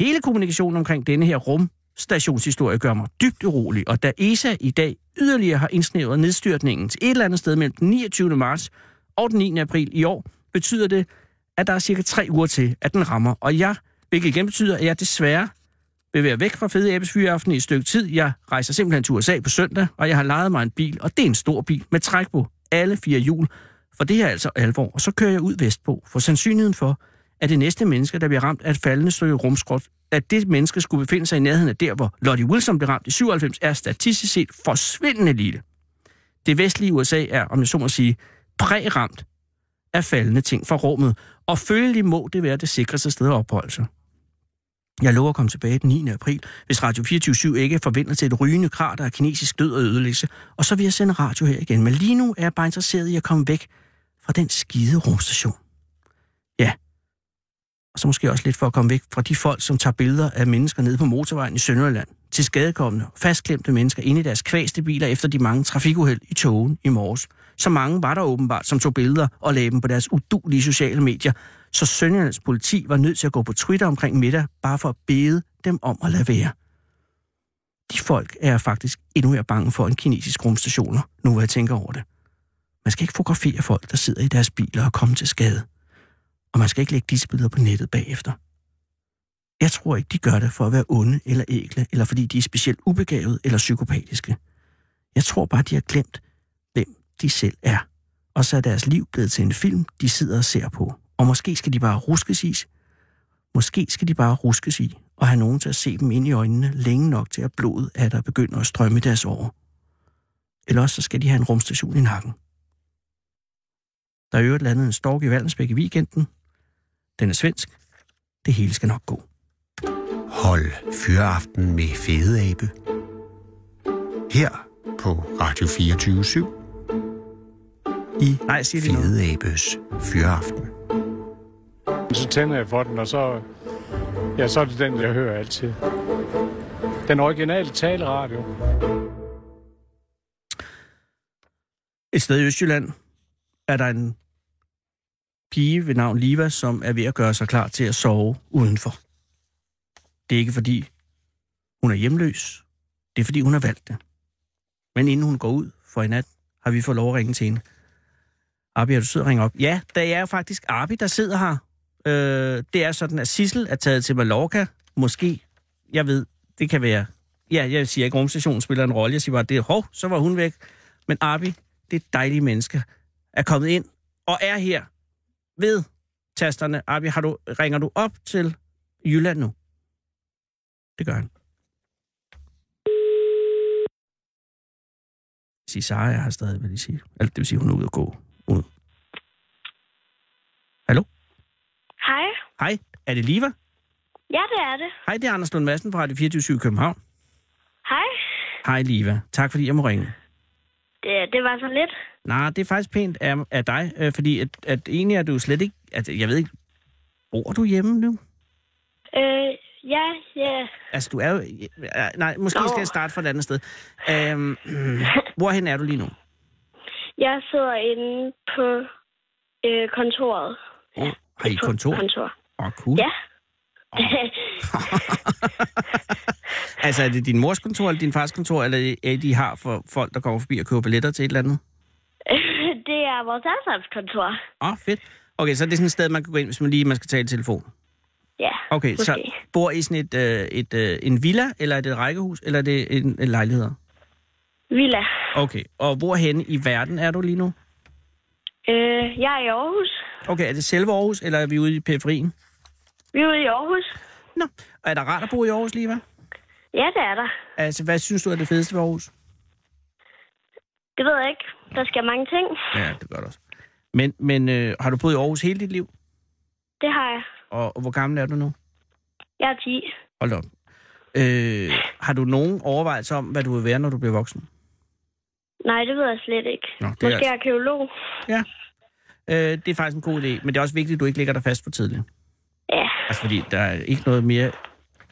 Speaker 5: Hele kommunikationen omkring denne her rumstationshistorie gør mig dybt urolig, og da ESA i dag yderligere har indsnævret nedstyrtningen til et eller andet sted mellem den 29. marts og den 9. april i år, betyder det, at der er cirka tre uger til, at den rammer. Og jeg, hvilket igen betyder, at jeg desværre vil være væk fra Fede Æbes Fyraften i et stykke tid. Jeg rejser simpelthen til USA på søndag, og jeg har lejet mig en bil, og det er en stor bil med træk på alle fire hjul. For det her er altså alvor, og så kører jeg ud vestpå, for sandsynligheden for, at det næste menneske, der bliver ramt af et faldende stykke rumskrot, at det menneske skulle befinde sig i nærheden af der, hvor Lottie Wilson blev ramt i 97, er statistisk set forsvindende lille. Det vestlige USA er, om jeg så må sige, præramt af faldende ting fra rummet, og følgelig må det være det sikreste sted at opholde sig. Jeg lover at komme tilbage den 9. april, hvis Radio 24 ikke forventer til et rygende krater af kinesisk død og ødelæggelse, og så vil jeg sende radio her igen. Men lige nu er jeg bare interesseret i at komme væk fra den skide rumstation. Ja, og så måske også lidt for at komme væk fra de folk, som tager billeder af mennesker nede på motorvejen i Sønderjylland, til skadekommende, fastklemte mennesker inde i deres kvaste biler efter de mange trafikuheld i togen i morges. Så mange var der åbenbart, som tog billeder og lagde dem på deres udulige sociale medier, så Sønderjyllands politi var nødt til at gå på Twitter omkring middag, bare for at bede dem om at lade være. De folk er jeg faktisk endnu mere bange for en kinesisk rumstationer, nu hvor jeg tænker over det. Man skal ikke fotografere folk, der sidder i deres biler og kommer til skade. Og man skal ikke lægge disse billeder på nettet bagefter. Jeg tror ikke, de gør det for at være onde eller ægle, eller fordi de er specielt ubegavede eller psykopatiske. Jeg tror bare, de har glemt, hvem de selv er. Og så er deres liv blevet til en film, de sidder og ser på. Og måske skal de bare ruskes i. Måske skal de bare ruskes i og have nogen til at se dem ind i øjnene længe nok til, at blodet er der begynder at strømme i deres år. Ellers så skal de have en rumstation i nakken. Der er i øvrigt landet en stork i Valdensbæk i weekenden. Den er svensk. Det hele skal nok gå.
Speaker 3: Hold Fyraften med Fede Abe. Her på Radio 24 7 i
Speaker 5: Nej, siger de noget?
Speaker 3: Fede Abes Fyraften.
Speaker 6: Så tænder jeg for den, og så, ja, så er det den, jeg hører altid. Den originale taleradio.
Speaker 5: Et sted i Østjylland er der en pige ved navn Liva, som er ved at gøre sig klar til at sove udenfor. Det er ikke fordi, hun er hjemløs. Det er fordi, hun har valgt det. Men inden hun går ud for i nat, har vi fået lov at ringe til hende. Arbi, har du siddet og ringer op? Ja, det er jo faktisk Arbi, der sidder her. Øh, det er sådan, at Sissel er taget til Mallorca. Måske, jeg ved, det kan være Ja, jeg siger ikke, rumstationen spiller en rolle. Jeg siger bare, det er hov, så var hun væk. Men Arbi, det dejlige menneske, er kommet ind og er her ved tasterne. Arbi, har du, ringer du op til Jylland nu? Det gør han. Sige, Sara er her stadig, vil jeg sige. Eller det vil sige, hun er ude at gå. Ude. Hallo?
Speaker 7: Hej.
Speaker 5: Hej, er det Liva?
Speaker 7: Ja, det er det.
Speaker 5: Hej, det er Anders Lund Madsen fra Radio 24 København.
Speaker 7: Hej.
Speaker 5: Hej Liva, tak fordi jeg må ringe.
Speaker 7: Det, det var så lidt.
Speaker 5: Nej, det er faktisk pænt af, af dig, øh, fordi at, at egentlig er du slet ikke... At, jeg ved ikke, bor du hjemme nu?
Speaker 7: Øh, ja, ja.
Speaker 5: Altså, du er jo... ja, Nej, måske
Speaker 7: Nå.
Speaker 5: skal jeg starte fra et andet sted. Øhm, hvorhen er du lige nu?
Speaker 7: Jeg sidder inde på øh, kontoret.
Speaker 5: Oh, har I kontor?
Speaker 7: kontor.
Speaker 5: Åh, oh, cool.
Speaker 7: Ja.
Speaker 5: Altså, er det din mors kontor eller din fars kontor, eller er det, de har for folk, der kommer forbi og køber billetter til et eller andet?
Speaker 7: *laughs* det er vores allesammenskontor.
Speaker 5: Åh, oh, fedt. Okay, så er det sådan et sted, man kan gå ind, hvis man lige man skal tale i telefon.
Speaker 7: Ja,
Speaker 5: Okay,
Speaker 7: måske.
Speaker 5: så bor I sådan et, øh, et, øh, en villa, eller er det et rækkehus, eller er det en, en lejlighed?
Speaker 7: Villa.
Speaker 5: Okay, og hvorhen i verden er du lige nu?
Speaker 7: Øh, jeg er i Aarhus.
Speaker 5: Okay, er det selve Aarhus, eller er vi ude i periferien?
Speaker 7: Vi er ude i Aarhus.
Speaker 5: Nå, og er der rart at bo i Aarhus, Liva?
Speaker 7: Ja, det er der.
Speaker 5: Altså, hvad synes du er det fedeste ved Aarhus?
Speaker 7: Det ved jeg ikke. Der sker mange ting.
Speaker 5: Ja, det gør det også. Men, men øh, har du boet i Aarhus hele dit liv?
Speaker 7: Det har jeg.
Speaker 5: Og, og hvor gammel er du nu?
Speaker 7: Jeg er 10.
Speaker 5: Hold da op. Øh, har du nogen overvejelser om, hvad du vil være, når du bliver voksen?
Speaker 7: Nej, det ved jeg slet ikke.
Speaker 5: Nå, det er
Speaker 7: Måske
Speaker 5: altså-
Speaker 7: altså... arkeolog.
Speaker 5: Ja. Øh, det er faktisk en god idé, men det er også vigtigt, at du ikke ligger dig fast for tidligt.
Speaker 7: Ja,
Speaker 5: Altså, fordi der er ikke noget mere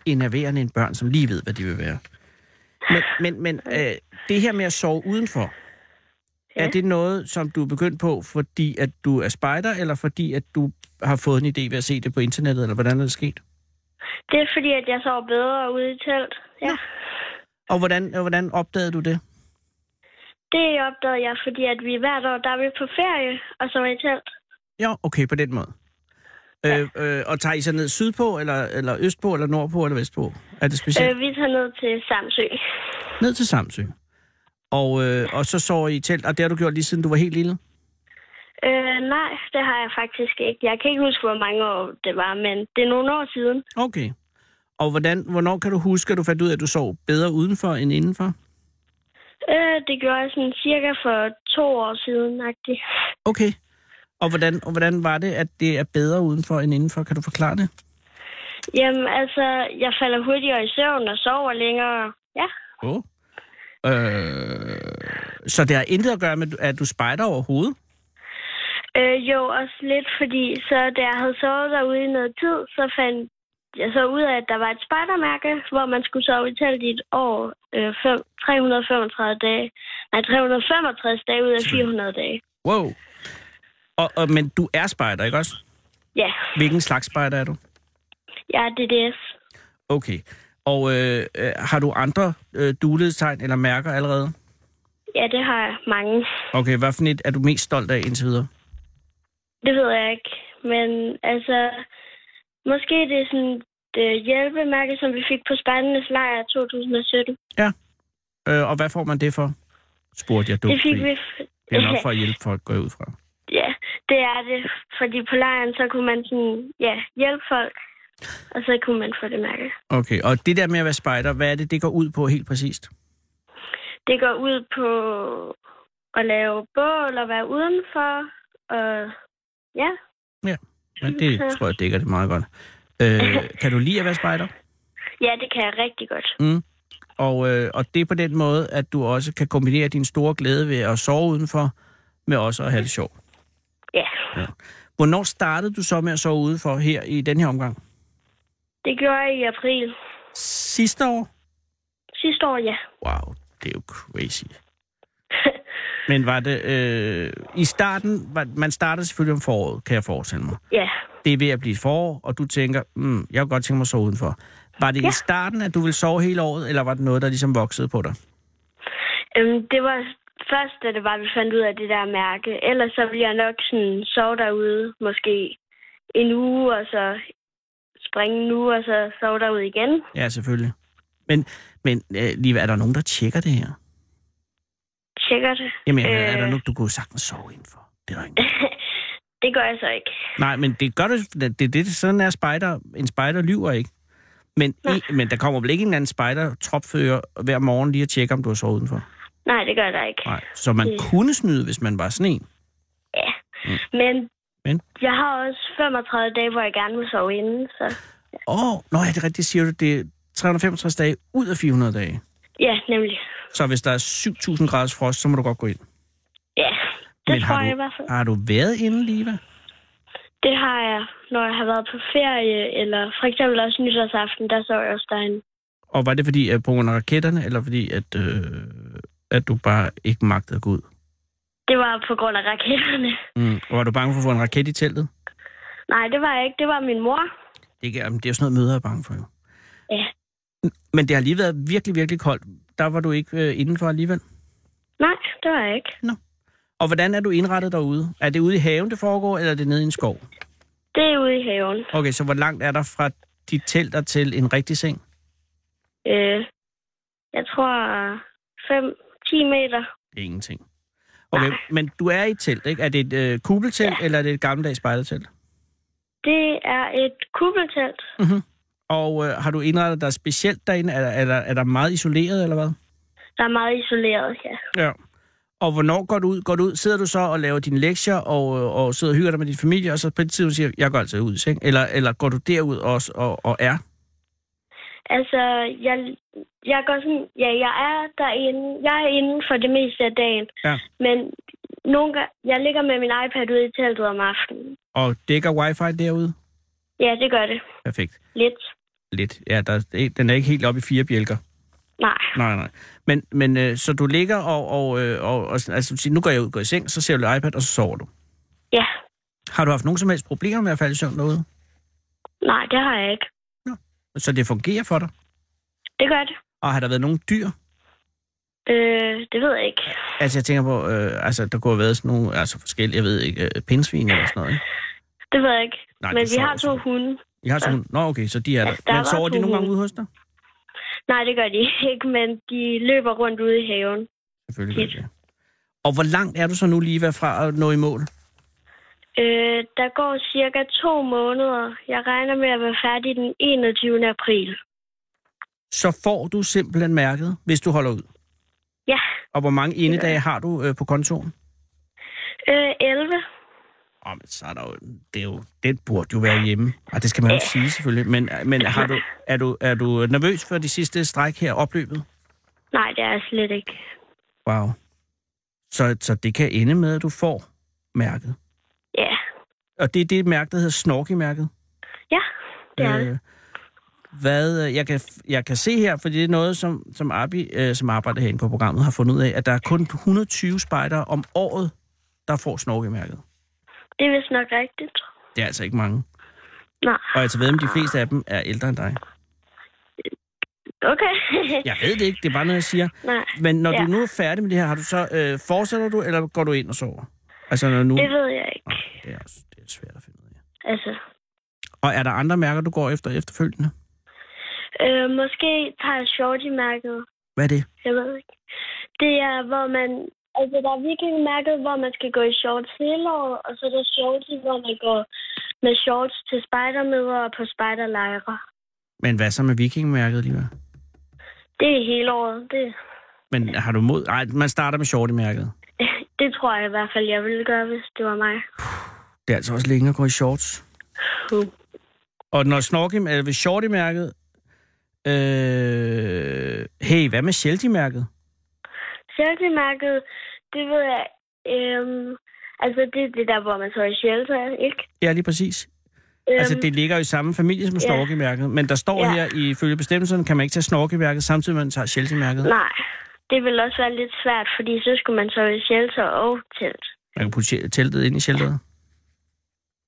Speaker 5: enerverende end børn, som lige ved, hvad de vil være. Men, men, men øh, det her med at sove udenfor, ja.
Speaker 7: Ja.
Speaker 5: er det noget, som du er begyndt på, fordi at du er spejder, eller fordi at du har fået en idé ved at se det på internettet, eller hvordan er det sket?
Speaker 7: det er fordi, at jeg sover bedre ude i telt. Ja. ja.
Speaker 5: Og hvordan, og hvordan opdagede du det?
Speaker 7: Det opdagede jeg, fordi at vi hvert år, der er vi på ferie, og så er i telt.
Speaker 5: Ja, okay, på den måde. Ja. Øh, øh, og tager I så ned sydpå, eller, eller østpå, eller nordpå, eller vestpå? Er det specielt?
Speaker 7: Øh, vi tager ned til Samsø.
Speaker 5: Øh. Ned til Samsø. Og, øh, og så sover I i telt, og det har du gjort lige siden du var helt lille?
Speaker 7: Øh, nej, det har jeg faktisk ikke. Jeg kan ikke huske, hvor mange år det var, men det er nogle år siden.
Speaker 5: Okay. Og hvordan, hvornår kan du huske, at du fandt ud af, at du sov bedre udenfor end indenfor?
Speaker 7: Øh, det gjorde jeg sådan cirka for to år siden, agtigt.
Speaker 5: Okay. Og hvordan, og hvordan var det, at det er bedre udenfor end indenfor? Kan du forklare det?
Speaker 7: Jamen, altså, jeg falder hurtigere i søvn og sover længere. Ja,
Speaker 5: Jo. Oh. Øh, så det har intet at gøre med, at du spejder overhovedet?
Speaker 7: øh, jo, også lidt, fordi så da jeg havde sovet derude i noget tid, så fandt jeg så ud af, at der var et spejdermærke, hvor man skulle sove i telt i et år, øh, fem, 335 dage. Nej, 365 dage ud af 400 dage.
Speaker 5: Wow. Og, og, men du er spejder, ikke også?
Speaker 7: Ja,
Speaker 5: Hvilken slags spejder er du?
Speaker 7: jeg er DDS.
Speaker 5: Okay. Og øh, øh, har du andre øh, duledstegn eller mærker allerede?
Speaker 7: Ja, det har jeg mange.
Speaker 5: Okay, hvad for et er du mest stolt af indtil videre?
Speaker 7: Det ved jeg ikke. Men altså, måske det er sådan det hjælpemærke, som vi fik på Spejdernes Lejr 2017.
Speaker 5: Øh, og hvad får man det for? Spurgte jeg dumt.
Speaker 7: det fik
Speaker 5: fordi
Speaker 7: vi...
Speaker 5: Det er
Speaker 7: *laughs*
Speaker 5: nok for at hjælpe folk, går jeg ud fra.
Speaker 7: ja, det er det. Fordi på lejren, så kunne man sådan, ja, hjælpe folk. Og så kunne man få det mærke.
Speaker 5: Okay, og det der med at være spejder, hvad er det, det går ud på helt præcist?
Speaker 7: Det går ud på at lave bål og være udenfor. Og ja,
Speaker 5: Men det
Speaker 7: Ja.
Speaker 5: tror jeg dækker det meget godt. Øh, kan du lide at være spejder?
Speaker 7: ja, det kan jeg rigtig godt.
Speaker 5: Og, øh, og det er på den måde, at du også kan kombinere din store glæde ved at sove udenfor, med også at have det sjovt.
Speaker 7: Ja,
Speaker 5: Hvornår startede du så med at sove udenfor her i den her omgang?
Speaker 7: det gjorde jeg i april.
Speaker 5: Sidste år?
Speaker 7: Sidste år, ja.
Speaker 5: Wow, det er jo crazy. Men var det... Øh, I starten... Var, man starter selvfølgelig om foråret, kan jeg forestille mig.
Speaker 7: Ja,
Speaker 5: Det er ved at blive forår, og du tænker, mm, jeg kunne godt tænke mig at sove udenfor. Var det ja. i
Speaker 7: Ja.
Speaker 5: starten, at du ville sove hele året, eller var det noget, der ligesom voksede på dig?
Speaker 7: Øhm, det var først, da det var, vi fandt ud af det der mærke. Ellers så ville jeg nok sådan sove derude, måske en uge, og så springe en uge, og så sove derude igen.
Speaker 5: Ja, selvfølgelig. Men, men øh, Liva, er der nogen, der tjekker det her?
Speaker 7: Tjekker det.
Speaker 5: Jamen, øh... er der
Speaker 7: Øh.
Speaker 5: nu, du kunne sagtens sove indenfor? Det er der ikke.
Speaker 7: *laughs* Det gør jeg så ikke.
Speaker 5: Nej, men det gør det, det, det, det sådan er spider. En spider lyver ikke. Men, i, men der kommer vel ikke en eller anden spider tropfører hver morgen lige at tjekke, om du har sovet udenfor?
Speaker 7: Nej, det gør der ikke.
Speaker 5: Nej. Så man
Speaker 7: Øh.
Speaker 5: kunne snyde, hvis man var sådan en.
Speaker 7: Men,
Speaker 5: Men?
Speaker 7: jeg har også 35 dage, hvor jeg gerne vil sove inden, så...
Speaker 5: Åh, oh, nå, er det rigtigt, siger du. Det er 365 dage ud af 400 dage.
Speaker 7: Ja, nemlig.
Speaker 5: Så hvis der er 7.000 graders frost, så må du godt gå ind.
Speaker 7: Ja, det
Speaker 5: Men
Speaker 7: tror
Speaker 5: har
Speaker 7: jeg
Speaker 5: du-
Speaker 7: i hvert fald.
Speaker 5: Har du været inde, Liva?
Speaker 7: Det har jeg, når jeg har været på ferie, eller for eksempel også nytårsaften, der sov jeg også derinde.
Speaker 5: Og var det fordi, at på grund af raketterne, eller fordi, at, øh, at du bare ikke magtede at gå ud?
Speaker 7: Det var på grund af raketterne. *laughs*
Speaker 5: Mm. Og var du bange for at få en raket i teltet?
Speaker 7: Nej, det var jeg ikke. Det var min mor.
Speaker 5: Det, kan, jamen, det er jo sådan noget, møder er bange for, jo.
Speaker 7: Ja.
Speaker 5: Men det har lige været virkelig, virkelig koldt. Der var du ikke øh, indenfor alligevel.
Speaker 7: Nej, det var jeg ikke.
Speaker 5: Og hvordan er du indrettet derude? Er det ude i haven, det foregår, eller er det nede i en skov?
Speaker 7: Det er ude i haven.
Speaker 5: Okay, så hvor langt er der fra dit telt og til en rigtig seng?
Speaker 7: Øh, jeg tror 5-10 meter.
Speaker 5: Det er ingenting. Okay, men du er i et telt, ikke? Er det et øh, kubeltelt, ja. eller er det et gammeldags spejdertelt?
Speaker 7: Det er et kubeltelt.
Speaker 5: Og øh, har du indrettet dig specielt derinde? Er, der- er, der, er der meget isoleret, eller hvad?
Speaker 7: Der er meget isoleret her.
Speaker 5: Ja. Og hvornår går du ud? Går du ud? Sidder du så og laver dine lektier, og, øh, og sidder og hygger dig med din familie, og så på et tidspunkt siger, jeg går altså ud i seng? Eller, eller går du derud også og, og er?
Speaker 7: Altså, jeg, jeg går sådan, ja, jeg er derinde, jeg er inde for det meste af dagen.
Speaker 5: Ja.
Speaker 7: Men nogle gange, jeg ligger med min iPad ude i teltet om aftenen.
Speaker 5: Og dækker wifi derude?
Speaker 7: Ja, det gør det.
Speaker 5: Perfekt.
Speaker 7: Lidt.
Speaker 5: Lidt. Ja, der, den er ikke helt oppe i fire bjælker.
Speaker 7: Nej.
Speaker 5: Nej, nej. Men, men øh, så du ligger og, og, øh, og, og altså, du siger, nu går jeg ud går i seng, så ser du lidt iPad, og så sover du.
Speaker 7: Ja.
Speaker 5: Har du haft nogen som helst problemer med at falde i søvn derude?
Speaker 7: Nej, det har jeg ikke.
Speaker 5: Så det fungerer for dig?
Speaker 7: Det gør det.
Speaker 5: Og har der været nogen dyr?
Speaker 7: Øh, det ved jeg ikke.
Speaker 5: Altså, jeg tænker på, øh, altså, der kunne have været sådan nogle, altså forskellige, jeg ved ikke, øh, pindsvin eller sådan noget, ikke?
Speaker 7: Det ved jeg ikke.
Speaker 5: Nej,
Speaker 7: Men
Speaker 5: de
Speaker 7: vi
Speaker 5: sover
Speaker 7: har to
Speaker 5: sammen.
Speaker 7: hunde.
Speaker 5: I har sådan, nå okay, så de er der.
Speaker 7: Altså, der
Speaker 5: Men
Speaker 7: var
Speaker 5: sover de
Speaker 7: to
Speaker 5: nogle gange
Speaker 7: hunde.
Speaker 5: ude hos dig?
Speaker 7: Nej, det gør de *laughs* ikke, men de løber rundt ude i haven.
Speaker 5: Selvfølgelig
Speaker 7: Tit.
Speaker 5: gør de det. Og hvor langt er du så nu lige fra at nå i mål?
Speaker 7: Øh, der går cirka to måneder. Jeg regner med at være færdig den 21. april.
Speaker 5: Så får du simpelthen mærket, hvis du holder ud.
Speaker 7: Ja.
Speaker 5: Og hvor mange indedage har du øh, på kontoren?
Speaker 7: Øh, 11.
Speaker 5: Åh, men så er der jo, det, er jo, det burde jo være hjemme. Og det skal man jo ikke sige selvfølgelig. Men, men har du, er, du, er du nervøs for de sidste stræk her opløbet?
Speaker 7: Nej, det er jeg slet ikke.
Speaker 5: Wow. Så, så det kan ende med, at du får mærket.
Speaker 7: Ja.
Speaker 5: Og det er det mærke, der hedder Snorky-mærket.
Speaker 7: Ja, det er det.
Speaker 5: Øh, hvad, øh, jeg, kan, jeg kan se her, for det er noget, som, som Abi, øh, som arbejder herinde på programmet, har fundet ud af, at der er kun 120 spejdere om året, der får snorkemærket.
Speaker 7: Det er vist nok rigtigt.
Speaker 5: Det er altså ikke mange.
Speaker 7: Nej,
Speaker 5: Og jeg tager ved, om de fleste af dem er ældre end dig. *laughs*
Speaker 7: okay.
Speaker 5: Jeg ved det ikke, det er bare noget, jeg siger.
Speaker 7: *laughs* Nej,
Speaker 5: Men når ja.
Speaker 7: Ja.
Speaker 5: du nu er færdig med det her, har du så, øh, fortsætter du, eller går du ind og sover? Altså, når nu...
Speaker 7: det ved jeg ikke.
Speaker 5: det er, også- det er svært at finde ud af.
Speaker 7: Altså,
Speaker 5: Og er der andre mærker, du går efter efterfølgende?
Speaker 7: øh, måske tager jeg shorty-mærket.
Speaker 5: Hvad er det?
Speaker 7: Jeg ved ikke. Det er, hvor man... Altså, der er vikingmærket, hvor man skal gå i shorts hele året, og så er der shorty, hvor man går med shorts til spejdermøder og på spejderlejre.
Speaker 5: Men hvad så med vikingmærket lige
Speaker 7: Det er hele året. Det, *laughs*
Speaker 5: Men har du mod... Nej, man starter med shorty-mærket.
Speaker 7: det tror jeg i hvert fald, jeg ville gøre, hvis det var mig.
Speaker 5: Det er altså også længe at gå i shorts.
Speaker 7: Uh.
Speaker 5: Og når snorkim, eller ved shorty-mærket, øh, hey, hvad med shelty-mærket?
Speaker 7: Sheltermærket, det ved jeg... Øhm, altså, det er det der, hvor man tager i shelter, ikke?
Speaker 5: Ja, lige præcis.
Speaker 7: Øhm,
Speaker 5: Altså, det ligger jo i samme familie som
Speaker 7: ja.
Speaker 5: snorkemærket, men der står
Speaker 7: Ja.
Speaker 5: her, ifølge bestemmelserne, kan man ikke tage snorkemærket, samtidig med at man tager shelty-mærket.
Speaker 7: Nej, det vil også være lidt svært, fordi så skulle man sove i shelter og telt.
Speaker 5: Man kan putte teltet ind i shelteret.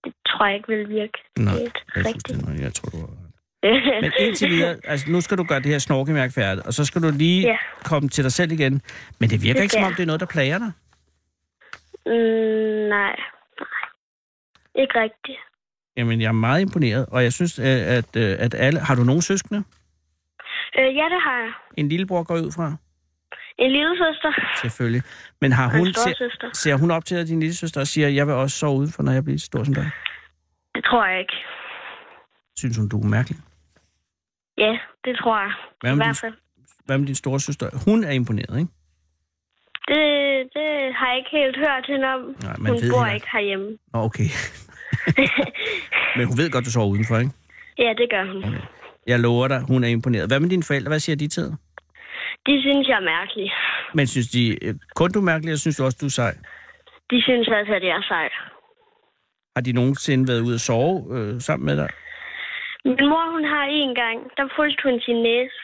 Speaker 7: Det tror jeg ikke vil virke
Speaker 5: Nej,
Speaker 7: helt
Speaker 5: Jeg,
Speaker 7: rigtigt. *laughs*
Speaker 5: fuldstændig- jeg tror, du har ret. Men indtil videre, altså nu skal du gøre det her snorkemærke færdigt, og så skal du lige
Speaker 7: Ja.
Speaker 5: komme til dig selv igen. Men det virker
Speaker 7: Det
Speaker 5: ikke, som
Speaker 7: skal
Speaker 5: om
Speaker 7: jeg.
Speaker 5: det er noget, der plager dig.
Speaker 7: mm, nej, nej. Ikke rigtigt.
Speaker 5: Jamen, jeg er meget imponeret, og jeg synes, øh, at, øh, at alle... Har du nogen søskende?
Speaker 7: Øh, ja, det har jeg.
Speaker 5: En lillebror går jeg ud fra,
Speaker 7: En lille søster
Speaker 5: selvfølgelig. Men har
Speaker 7: og
Speaker 5: hun,
Speaker 7: en
Speaker 5: ser,
Speaker 7: storsøster.
Speaker 5: ser hun op til dig, din lille søster, og siger, jeg vil også sove udenfor, når jeg bliver så stor som dig?
Speaker 7: Det tror jeg ikke.
Speaker 5: Synes hun, du er mærkelig?
Speaker 7: Ja, det tror jeg.
Speaker 5: Hvad
Speaker 7: I
Speaker 5: med,
Speaker 7: hvert
Speaker 5: din,
Speaker 7: fald.
Speaker 5: hvad med din store søster? Hun er imponeret, ikke?
Speaker 7: Det, det har jeg ikke helt hørt hende om.
Speaker 5: Nej, man
Speaker 7: Hun
Speaker 5: ved
Speaker 7: bor
Speaker 5: heller
Speaker 7: ikke herhjemme.
Speaker 5: Nå, okay. Men hun ved godt, du sover udenfor, ikke?
Speaker 7: Ja, det gør hun.
Speaker 5: Jeg lover dig, hun er imponeret. Hvad med dine forældre? Hvad siger de til dig?
Speaker 7: De synes, jeg er mærkelig.
Speaker 5: Men synes de øh, kun, du er mærkelig, og synes du også, du er sej?
Speaker 7: De synes altså, at jeg er sej.
Speaker 5: Har de nogensinde været ude at sove øh, sammen med dig?
Speaker 7: Min mor, hun har en gang, der fulgte hun sin næse.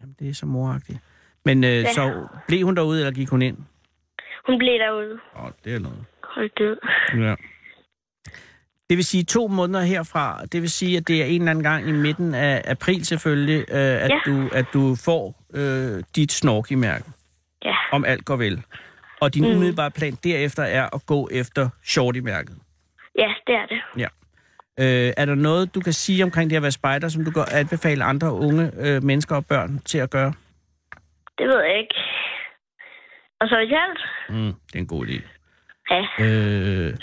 Speaker 5: Jamen, det er så moragtigt. Men øh,
Speaker 7: Ja.
Speaker 5: så blev hun derude, eller gik hun ind?
Speaker 7: Hun blev derude.
Speaker 5: Åh, oh, det er noget.
Speaker 7: Hold død.
Speaker 5: Ja. Det vil sige to måneder herfra. Det vil sige, at det er en eller anden gang i midten af april selvfølgelig, øh, at,
Speaker 7: Ja.
Speaker 5: du, at du får øh, dit snorkimærke,
Speaker 7: Ja,
Speaker 5: om alt går vel. Og din mm. umiddelbare plan derefter er at gå efter shorty-mærket.
Speaker 7: ja det er det.
Speaker 5: Ja. Øh, er der noget, du kan sige omkring det at være spejder, som du kan anbefale andre unge øh, mennesker og børn til at gøre?
Speaker 7: Det ved jeg ikke. Og så i alt?
Speaker 5: Mm, det er en god idé.
Speaker 7: Ja.
Speaker 5: Øh,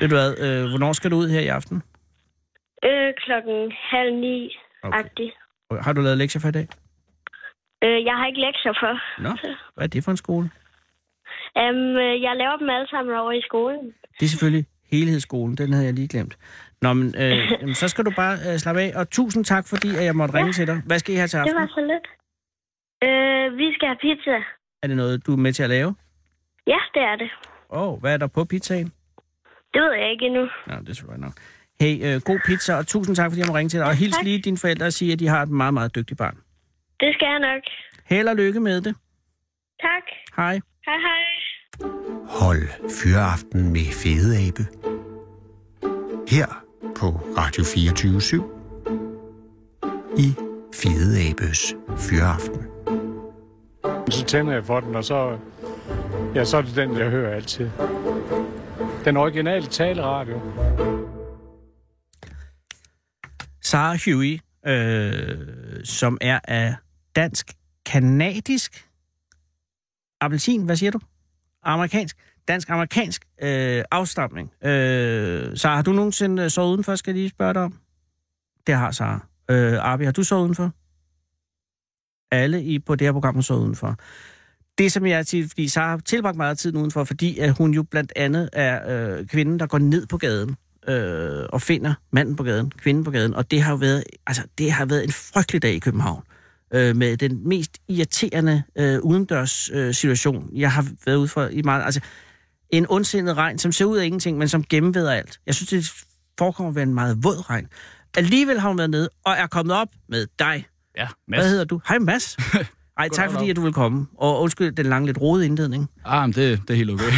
Speaker 5: ved du hvad, øh, hvornår skal du ud her i aften?
Speaker 7: Øh, klokken halv ni. Okay.
Speaker 5: Har du lavet lektier for i dag?
Speaker 7: Øh, jeg har ikke lektier for.
Speaker 5: Nå, hvad er det for en skole?
Speaker 7: Um, jeg laver dem alle sammen over i skolen.
Speaker 5: Det er selvfølgelig helhedsskolen, den havde jeg lige glemt. Nå, men
Speaker 7: *laughs*
Speaker 5: øh, jamen, så skal du bare øh, slappe af, og tusind tak, fordi at jeg måtte ringe til dig. Hvad skal I have til
Speaker 7: Det
Speaker 5: aften?
Speaker 7: var så lidt. Øh, vi skal have pizza.
Speaker 5: Er det noget, du er med til at lave?
Speaker 7: Ja, det er det.
Speaker 5: Åh, oh, hvad er der på pizzaen?
Speaker 7: Det ved jeg ikke endnu.
Speaker 5: Nå, det er selvfølgelig nok. Hey, øh, god pizza, og tusind tak, fordi jeg må ringe til dig. Og hils
Speaker 7: tak.
Speaker 5: lige dine forældre og sige, at de har et meget, meget dygtigt barn.
Speaker 7: Det skal jeg nok.
Speaker 5: Held og lykke med det.
Speaker 7: Tak.
Speaker 5: Hej.
Speaker 7: Hej hej.
Speaker 3: Hold Fyraften med Fede Abe. Her på Radio 24 I Fede Abes Fyraften.
Speaker 6: Så tænder jeg for den, og så, ja, så er det den, jeg hører altid. Den originale taleradio.
Speaker 5: Sarah Huey, øh, som er af dansk-kanadisk appelsin, hvad siger du? Amerikansk. Dansk-amerikansk øh, afstamning. Øh, Sarah, har du nogensinde øh, sovet udenfor, skal jeg lige spørge dig om? Det har Sarah. Øh, Arbi, har du sovet udenfor? Alle i, på det her program har sovet udenfor. Det, som jeg siger, fordi Sarah har tilbragt meget tid udenfor, fordi at hun jo blandt andet er øh, kvinden, der går ned på gaden øh, og finder manden på gaden, kvinden på gaden, og det har jo været, altså, det har været en frygtelig dag i København øh, med den mest irriterende øh, udendørs øh, situation, jeg har været ude for i meget, altså en ondsindet regn, som ser ud af ingenting, men som gennemveder alt. Jeg synes, det forekommer at være en meget våd regn. Alligevel har hun været nede og er kommet op med dig.
Speaker 2: Ja,
Speaker 5: Hvad hedder du? Hej Mads. Ej, tak
Speaker 2: Goddag,
Speaker 5: fordi
Speaker 2: Lav.
Speaker 5: at du vil komme. Og undskyld den lange lidt rodede indledning.
Speaker 2: Ah, men det, det er helt okay.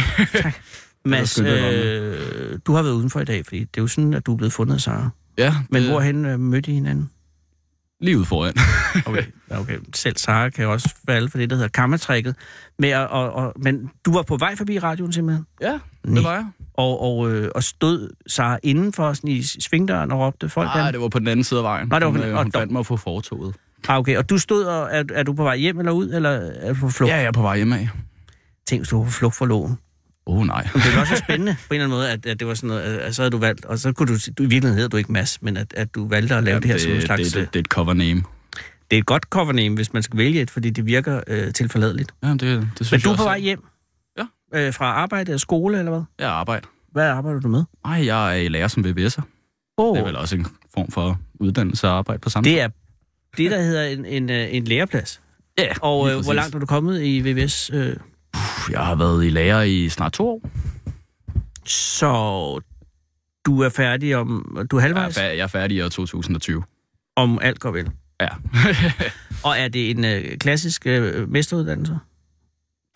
Speaker 5: Mads,
Speaker 2: skønt, det var
Speaker 5: øh, du har været udenfor i dag, fordi det er jo sådan, at du er blevet fundet, Sara.
Speaker 2: ja,
Speaker 5: Men
Speaker 2: det-
Speaker 5: hvorhen øh, mødte I
Speaker 2: *laughs*
Speaker 5: hinanden?
Speaker 2: Lige ude foran.
Speaker 5: Okay. okay. Selv Sara kan jo også falde for det, der hedder kammertrækket. Men, og, og, og, men du var på vej forbi radioen simpelthen,
Speaker 2: ja,
Speaker 5: Nej.
Speaker 2: det var jeg.
Speaker 5: og, og, øh, og stod Sara indenfor sådan i svingdøren og råbte folk
Speaker 2: Nej,
Speaker 5: an.
Speaker 2: Ah, det var på den anden side af vejen.
Speaker 5: Nå, det var på
Speaker 2: hun,
Speaker 5: den-
Speaker 2: øh,
Speaker 5: og
Speaker 2: hun
Speaker 5: dog.
Speaker 2: fandt mig på fortoget.
Speaker 5: Ah, okay. Og du stod, og er, er du på vej hjem eller ud, eller er du på flugt?
Speaker 2: Ja, jeg er på vej hjemme af.
Speaker 5: Tænk, hvis du var på flugt for loven.
Speaker 2: Åh, oh, nej.
Speaker 5: Men det var også spændende på en eller anden måde, at, at det var sådan noget, at, at så havde du valgt, og så kunne du, du i virkeligheden hedder du ikke Mads, men at, at du valgte at lave ja, det her som en
Speaker 2: det,
Speaker 5: slags... øh?
Speaker 2: det, det, det, er et cover name.
Speaker 5: det er et godt covername, hvis man skal vælge et, fordi det virker øh, tilforladeligt.
Speaker 2: Ja, det, det synes
Speaker 5: Men du er
Speaker 2: jeg
Speaker 5: på
Speaker 2: også
Speaker 5: vej hjem?
Speaker 2: Ja.
Speaker 5: Øh, fra arbejde og skole, eller hvad?
Speaker 2: Jeg arbejder.
Speaker 5: Hvad arbejder du med?
Speaker 2: Nej, jeg er i lærer som VVS'er.
Speaker 5: Oh,
Speaker 2: Det er vel også en form for uddannelse og arbejde på samme tid.
Speaker 5: det er det, der hedder en, en, øh, en læreplads.
Speaker 2: Ja,
Speaker 5: Og
Speaker 2: lige
Speaker 5: øh, hvor
Speaker 2: præcis.
Speaker 5: langt er du kommet i VVS? Øh,
Speaker 2: Puh, Jeg har været i lærer i snart to år.
Speaker 5: så du er færdig om... Du
Speaker 2: Jeg er,
Speaker 5: er halvvejs,
Speaker 2: færdig, jeg er færdig i år 2020.
Speaker 5: om alt går vel. *laughs*
Speaker 2: Ja.
Speaker 5: Og er det en øh, klassisk øh, mesteruddannelse?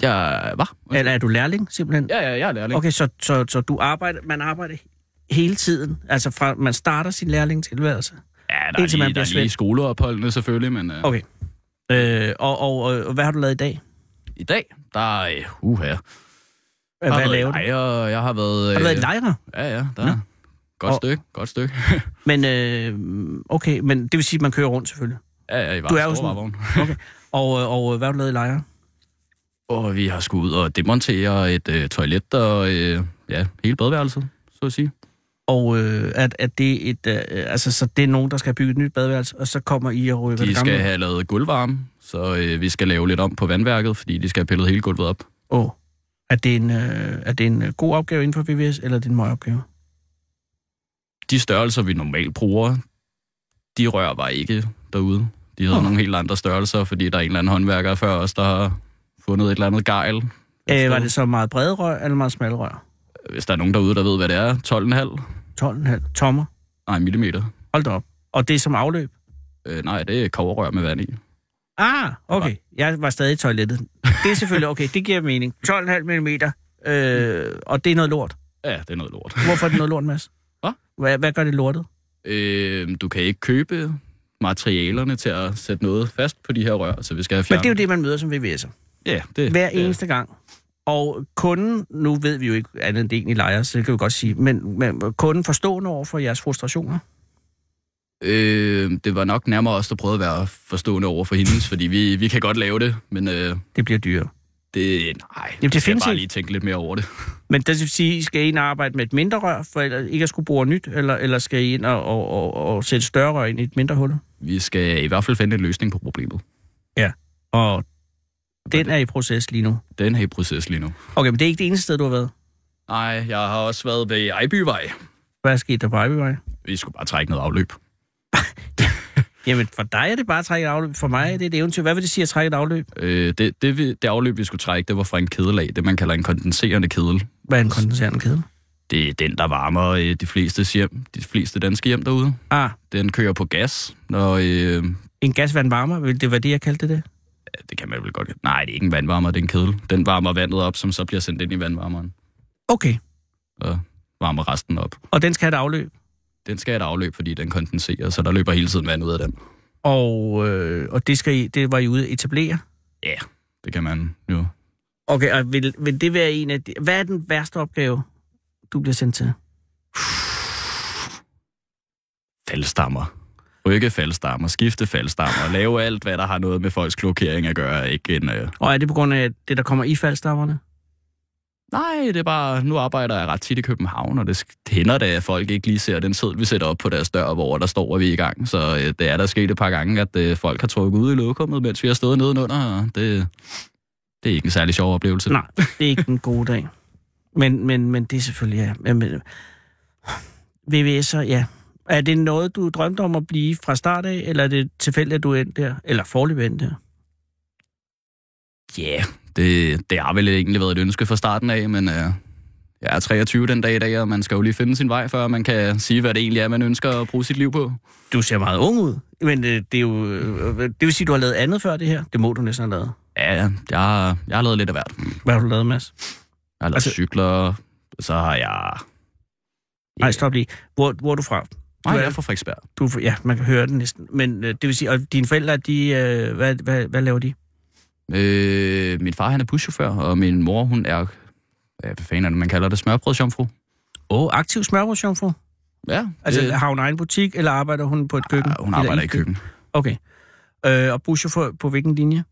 Speaker 2: jeg var.
Speaker 5: Eller er du lærling, simpelthen?
Speaker 2: Ja, ja, jeg er lærling. Okay.
Speaker 5: Okay, så, så, så du arbejder, man arbejder hele tiden, altså fra man starter sin lærlingtilværelse.
Speaker 2: Ja, der er,
Speaker 5: Indtil man
Speaker 2: lige, der
Speaker 5: bliver
Speaker 2: er lige
Speaker 5: svensk.
Speaker 2: skoleopholdene selvfølgelig, men øh,
Speaker 5: Okay. Øh, og, og, øh, og hvad har du lavet i dag?
Speaker 2: i dag, der er... Øh, uha. Jeg
Speaker 5: Hvad,
Speaker 2: har
Speaker 5: hvad
Speaker 2: været
Speaker 5: laver du?
Speaker 2: lejer, og jeg har været... Øh,
Speaker 5: Har du været i lejre?
Speaker 2: Ja, ja, der
Speaker 5: Nå.
Speaker 2: er. Godt
Speaker 5: Og-
Speaker 2: stykke, godt stykke.
Speaker 5: Men, øh, okay, men det vil sige, at man kører rundt selvfølgelig.
Speaker 8: *laughs* Ja, ja, i var,
Speaker 5: Du er jo
Speaker 8: store
Speaker 5: sådan- *laughs*
Speaker 8: varevogn.
Speaker 5: Og, øh, og øh, hvad har du lavet i lejre?
Speaker 8: *laughs* Og vi har skulle ud og demontere et øh, toilet og øh, ja, hele badeværelset, så at sige.
Speaker 5: Og øh, at, at det et, øh, altså, så det er nogen, der skal have bygget et nyt badeværelse, og så kommer I og røver
Speaker 8: De
Speaker 5: det gamle?
Speaker 8: skal have lavet gulvvarme, så øh, vi skal lave lidt om på vandværket, fordi de skal have pillet hele gulvet op.
Speaker 5: Åh. Er det, en, øh, er det en øh, god opgave inden for BVS, eller er det en møgopgave?
Speaker 8: De størrelser, vi normalt bruger, de rør var ikke derude. De havde
Speaker 5: Nå.
Speaker 8: nogle helt andre størrelser, fordi der er en eller anden håndværker før os, der har fundet et eller andet gejl.
Speaker 5: Øh, var det så meget brede rør, eller meget smalle rør?
Speaker 8: Hvis der er nogen derude, der ved, hvad det er, 12,5?
Speaker 5: 12,5 tommer.
Speaker 8: Nej, millimeter.
Speaker 5: Hold da op. Og det er som afløb?
Speaker 8: Øh, nej, det er koverrør med vand i.
Speaker 5: Ah, okay. Jeg var stadig i toilettet. Det er selvfølgelig okay. Det giver mening. 12,5 mm. Øh, og det er noget lort.
Speaker 8: Ja, det er noget lort. *laughs*
Speaker 5: Hvorfor er det noget lort, Mads?
Speaker 8: Hva?
Speaker 5: Hvad, hvad gør det lortet?
Speaker 8: Øh, du kan ikke købe materialerne til at sætte noget fast på de her rør, så vi skal have
Speaker 5: Men
Speaker 8: fjernet.
Speaker 5: det er jo det, man møder som VVS'er.
Speaker 8: Ja, det,
Speaker 5: Hver
Speaker 8: det er-
Speaker 5: eneste gang. Og kunden, nu ved vi jo ikke andet end det egentlig lejer, så det kan vi godt sige, men, men kunden forstående over for jeres frustrationer?
Speaker 8: Øh, det var nok nærmere os, der prøvede at være forstående over for hendes, fordi vi, vi kan godt lave det, men øh,
Speaker 5: Det bliver dyrere.
Speaker 8: det, nej,
Speaker 5: det
Speaker 8: jeg skal
Speaker 5: findes
Speaker 8: bare
Speaker 5: ikke.
Speaker 8: lige tænke lidt mere over det.
Speaker 5: Men det vil sige, I skal ind og arbejde med et mindre rør, for ellers ikke at skulle bruge nyt, eller, eller skal I ind og, og, og, og sætte større rør ind i et mindre hul?
Speaker 8: Vi skal i hvert fald finde en løsning på problemet.
Speaker 5: Og den er i proces lige nu.
Speaker 8: Den her i proces lige nu.
Speaker 5: Okay, men det er ikke det eneste sted, du har været.
Speaker 8: Nej, jeg har også været ved Ejbyvej.
Speaker 5: Hvad er sket der på Ivy
Speaker 8: Vi skulle bare trække noget afløb.
Speaker 5: Jamen, for dig er det bare at trække et afløb. For mig er det et eventyr. Hvad vil det sige at trække et afløb?
Speaker 8: Øh, det, det, vi- det afløb, vi skulle trække, det var fra en kedelag, det man kalder en kondenserende kedel.
Speaker 5: Hvad er en kondenserende kæde?
Speaker 8: Det er den, der varmer øh, de, fleste hjem, de fleste danske hjem derude.
Speaker 5: Ah,
Speaker 8: Den kører på gas, når... Øh,
Speaker 5: en gasvandvarmer. Vil det være det, jeg kaldte det?
Speaker 8: ja, det kan man vel godt... Nej, det er ikke en vandvarmer, det er en kedel. Den varmer vandet op, som så bliver sendt ind i vandvarmeren.
Speaker 5: Okay.
Speaker 8: og varmer resten op.
Speaker 5: Og den skal have et afløb.
Speaker 8: Den skal have et afløb, fordi den kondenserer, så der løber hele tiden vand ud af den.
Speaker 5: Og, øh, og det, skal I, det var I ude at etablere.
Speaker 8: Ja, det kan man jo.
Speaker 5: Okay, og vil, vil det være en af de, Hvad er den værste opgave, du bliver sendt til?
Speaker 8: Faldstammer. Rykke faldstammer, skifte faldstammer, lave alt, hvad der har noget med folks klokering at gøre. Ikke en, øh...
Speaker 5: Og er det på grund af det, der kommer i faldstammerne?
Speaker 8: Nej, det er bare, nu arbejder jeg ret tit i København, og det sk- det hænder da, at folk ikke lige ser den seddel, vi sætter op på deres dør, hvor der står, at vi er i gang. Så øh, det er der sket et par gange, at øh, folk har trukket ud i lokummet, mens vi har stået nedenunder, og det, det er ikke en særlig sjov oplevelse.
Speaker 5: Nej, det er ikke en god dag. Men, men, men det er selvfølgelig, ja. Men, men, VVS'er, ja. Er det noget, du drømte om at blive fra start af, eller er det tilfældigt, at du endte der? Eller forløbig endte der?
Speaker 8: Ja, yeah, det, det har vel egentlig været et ønske fra starten af, men øh, jeg er 23 den dag i dag, og man skal jo lige finde sin vej, før man kan sige, hvad det egentlig er, man ønsker at bruge sit liv på.
Speaker 5: Du ser meget ung ud, men øh, det, er jo, øh, det vil sige, at du har lavet andet før det her. Det må du næsten have lavet.
Speaker 8: Ja, jeg, har- jeg har lavet lidt af hvert. Jeg
Speaker 5: Hvad har du lavet, Mads?
Speaker 8: har lavet
Speaker 5: Altså-
Speaker 8: altså, cykler, så har jeg...
Speaker 5: Nej, stop lige. Hvor, hvor er du fra?
Speaker 8: Nej,
Speaker 5: Du
Speaker 8: jeg
Speaker 5: er-
Speaker 8: er fra Frederiksberg.
Speaker 5: Du, er fra- ja, man kan høre det næsten. Men øh, det vil sige, og dine forældre, de, øh, hvad, hvad, hvad laver de?
Speaker 8: Øh, min far, han er buschauffør, og min mor, hun er... Ja, hvad fanden er det, man kalder det? Smørbrødsjomfru?
Speaker 5: Åh, oh, aktiv smørbrødsjomfru.
Speaker 8: Ja,
Speaker 5: Altså,
Speaker 8: det,
Speaker 5: har hun egen butik, eller arbejder hun på et køkken?
Speaker 8: hun
Speaker 5: Eller
Speaker 8: arbejder i køkken.
Speaker 5: Okay. Øh, og buschauffør på hvilken linje?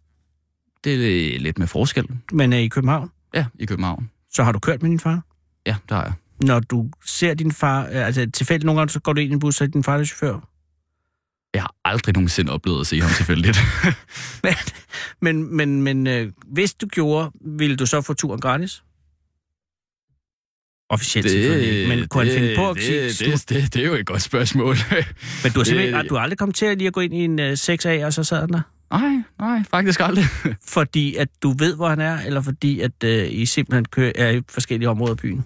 Speaker 8: Det er lidt med forskel.
Speaker 5: Men er i København?
Speaker 8: Ja, i København.
Speaker 5: Så har du kørt med din far?
Speaker 8: Ja, der er jeg.
Speaker 5: Når du ser din far, øh, altså tilfældigt nogle gange, så går du ind i en bus, så er din far der er chauffør. *laughs*
Speaker 8: Jeg har aldrig nogensinde oplevet at se ham tilfældigt. *laughs*
Speaker 5: Men, men, men øh, hvis du gjorde, ville du så få turen gratis? Officielt det, selvfølgelig ikke, men kunne han finde på at sige,
Speaker 8: det,
Speaker 5: slut?
Speaker 8: det, det, det er jo et godt
Speaker 5: *laughs* Men
Speaker 8: spørgsmål.
Speaker 5: du har simpelthen
Speaker 8: det-
Speaker 5: ikke- du har aldrig kommet til at lige at gå ind i en øh, 6A, og så sad
Speaker 8: *laughs*
Speaker 5: han der?
Speaker 8: nej, nej, faktisk aldrig.
Speaker 5: Fordi at du ved, hvor han er, eller fordi at øh, I simpelthen kører, er i forskellige områder af byen?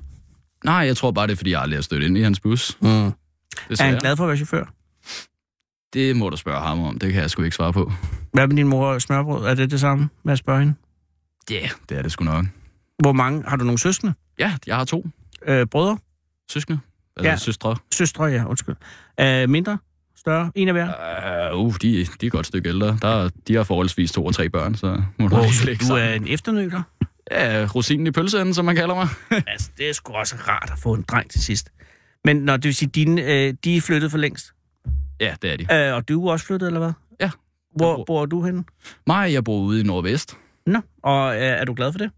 Speaker 8: Nej, jeg tror bare, det er, fordi jeg aldrig har stødt ind i hans bus.
Speaker 5: Mm. Er
Speaker 8: Mm, Det,
Speaker 5: han glad for at være chauffør?
Speaker 8: det må du spørge ham om. Det kan jeg sgu ikke svare på.
Speaker 5: Hvad med din mor og smørbrød? Er det det samme med at spørge hende?
Speaker 8: Ja, yeah. det er det sgu nok.
Speaker 5: Hvor mange? Har du nogle søskende?
Speaker 8: Ja, jeg har to
Speaker 5: Øh, brødre?
Speaker 8: søskende. Altså
Speaker 5: Ja.
Speaker 8: ja. søstre.
Speaker 5: Søstre, ja, undskyld. Øh, mindre? Større? En af hver?
Speaker 8: Uh, uh, de, de er et godt stykke ældre. Der, de har forholdsvis to og tre børn, så må du
Speaker 5: Wow,
Speaker 8: lige
Speaker 5: så
Speaker 8: lægge
Speaker 5: du
Speaker 8: sammen.
Speaker 5: er en
Speaker 8: *laughs*
Speaker 5: efternøler?
Speaker 8: Ja, rosinen i pølseenden, som man kalder mig.
Speaker 5: altså, det er sgu også rart at få en dreng til sidst. Men når det vil sige, dine, øh, de er flyttet for længst,
Speaker 8: Ja, det er de.
Speaker 5: øh, og du er også flyttet, eller hvad?
Speaker 8: Ja.
Speaker 5: Hvor bor du henne?
Speaker 8: Nej, jeg bor ude i Nordvest.
Speaker 5: Nå, og øh, er du glad for det?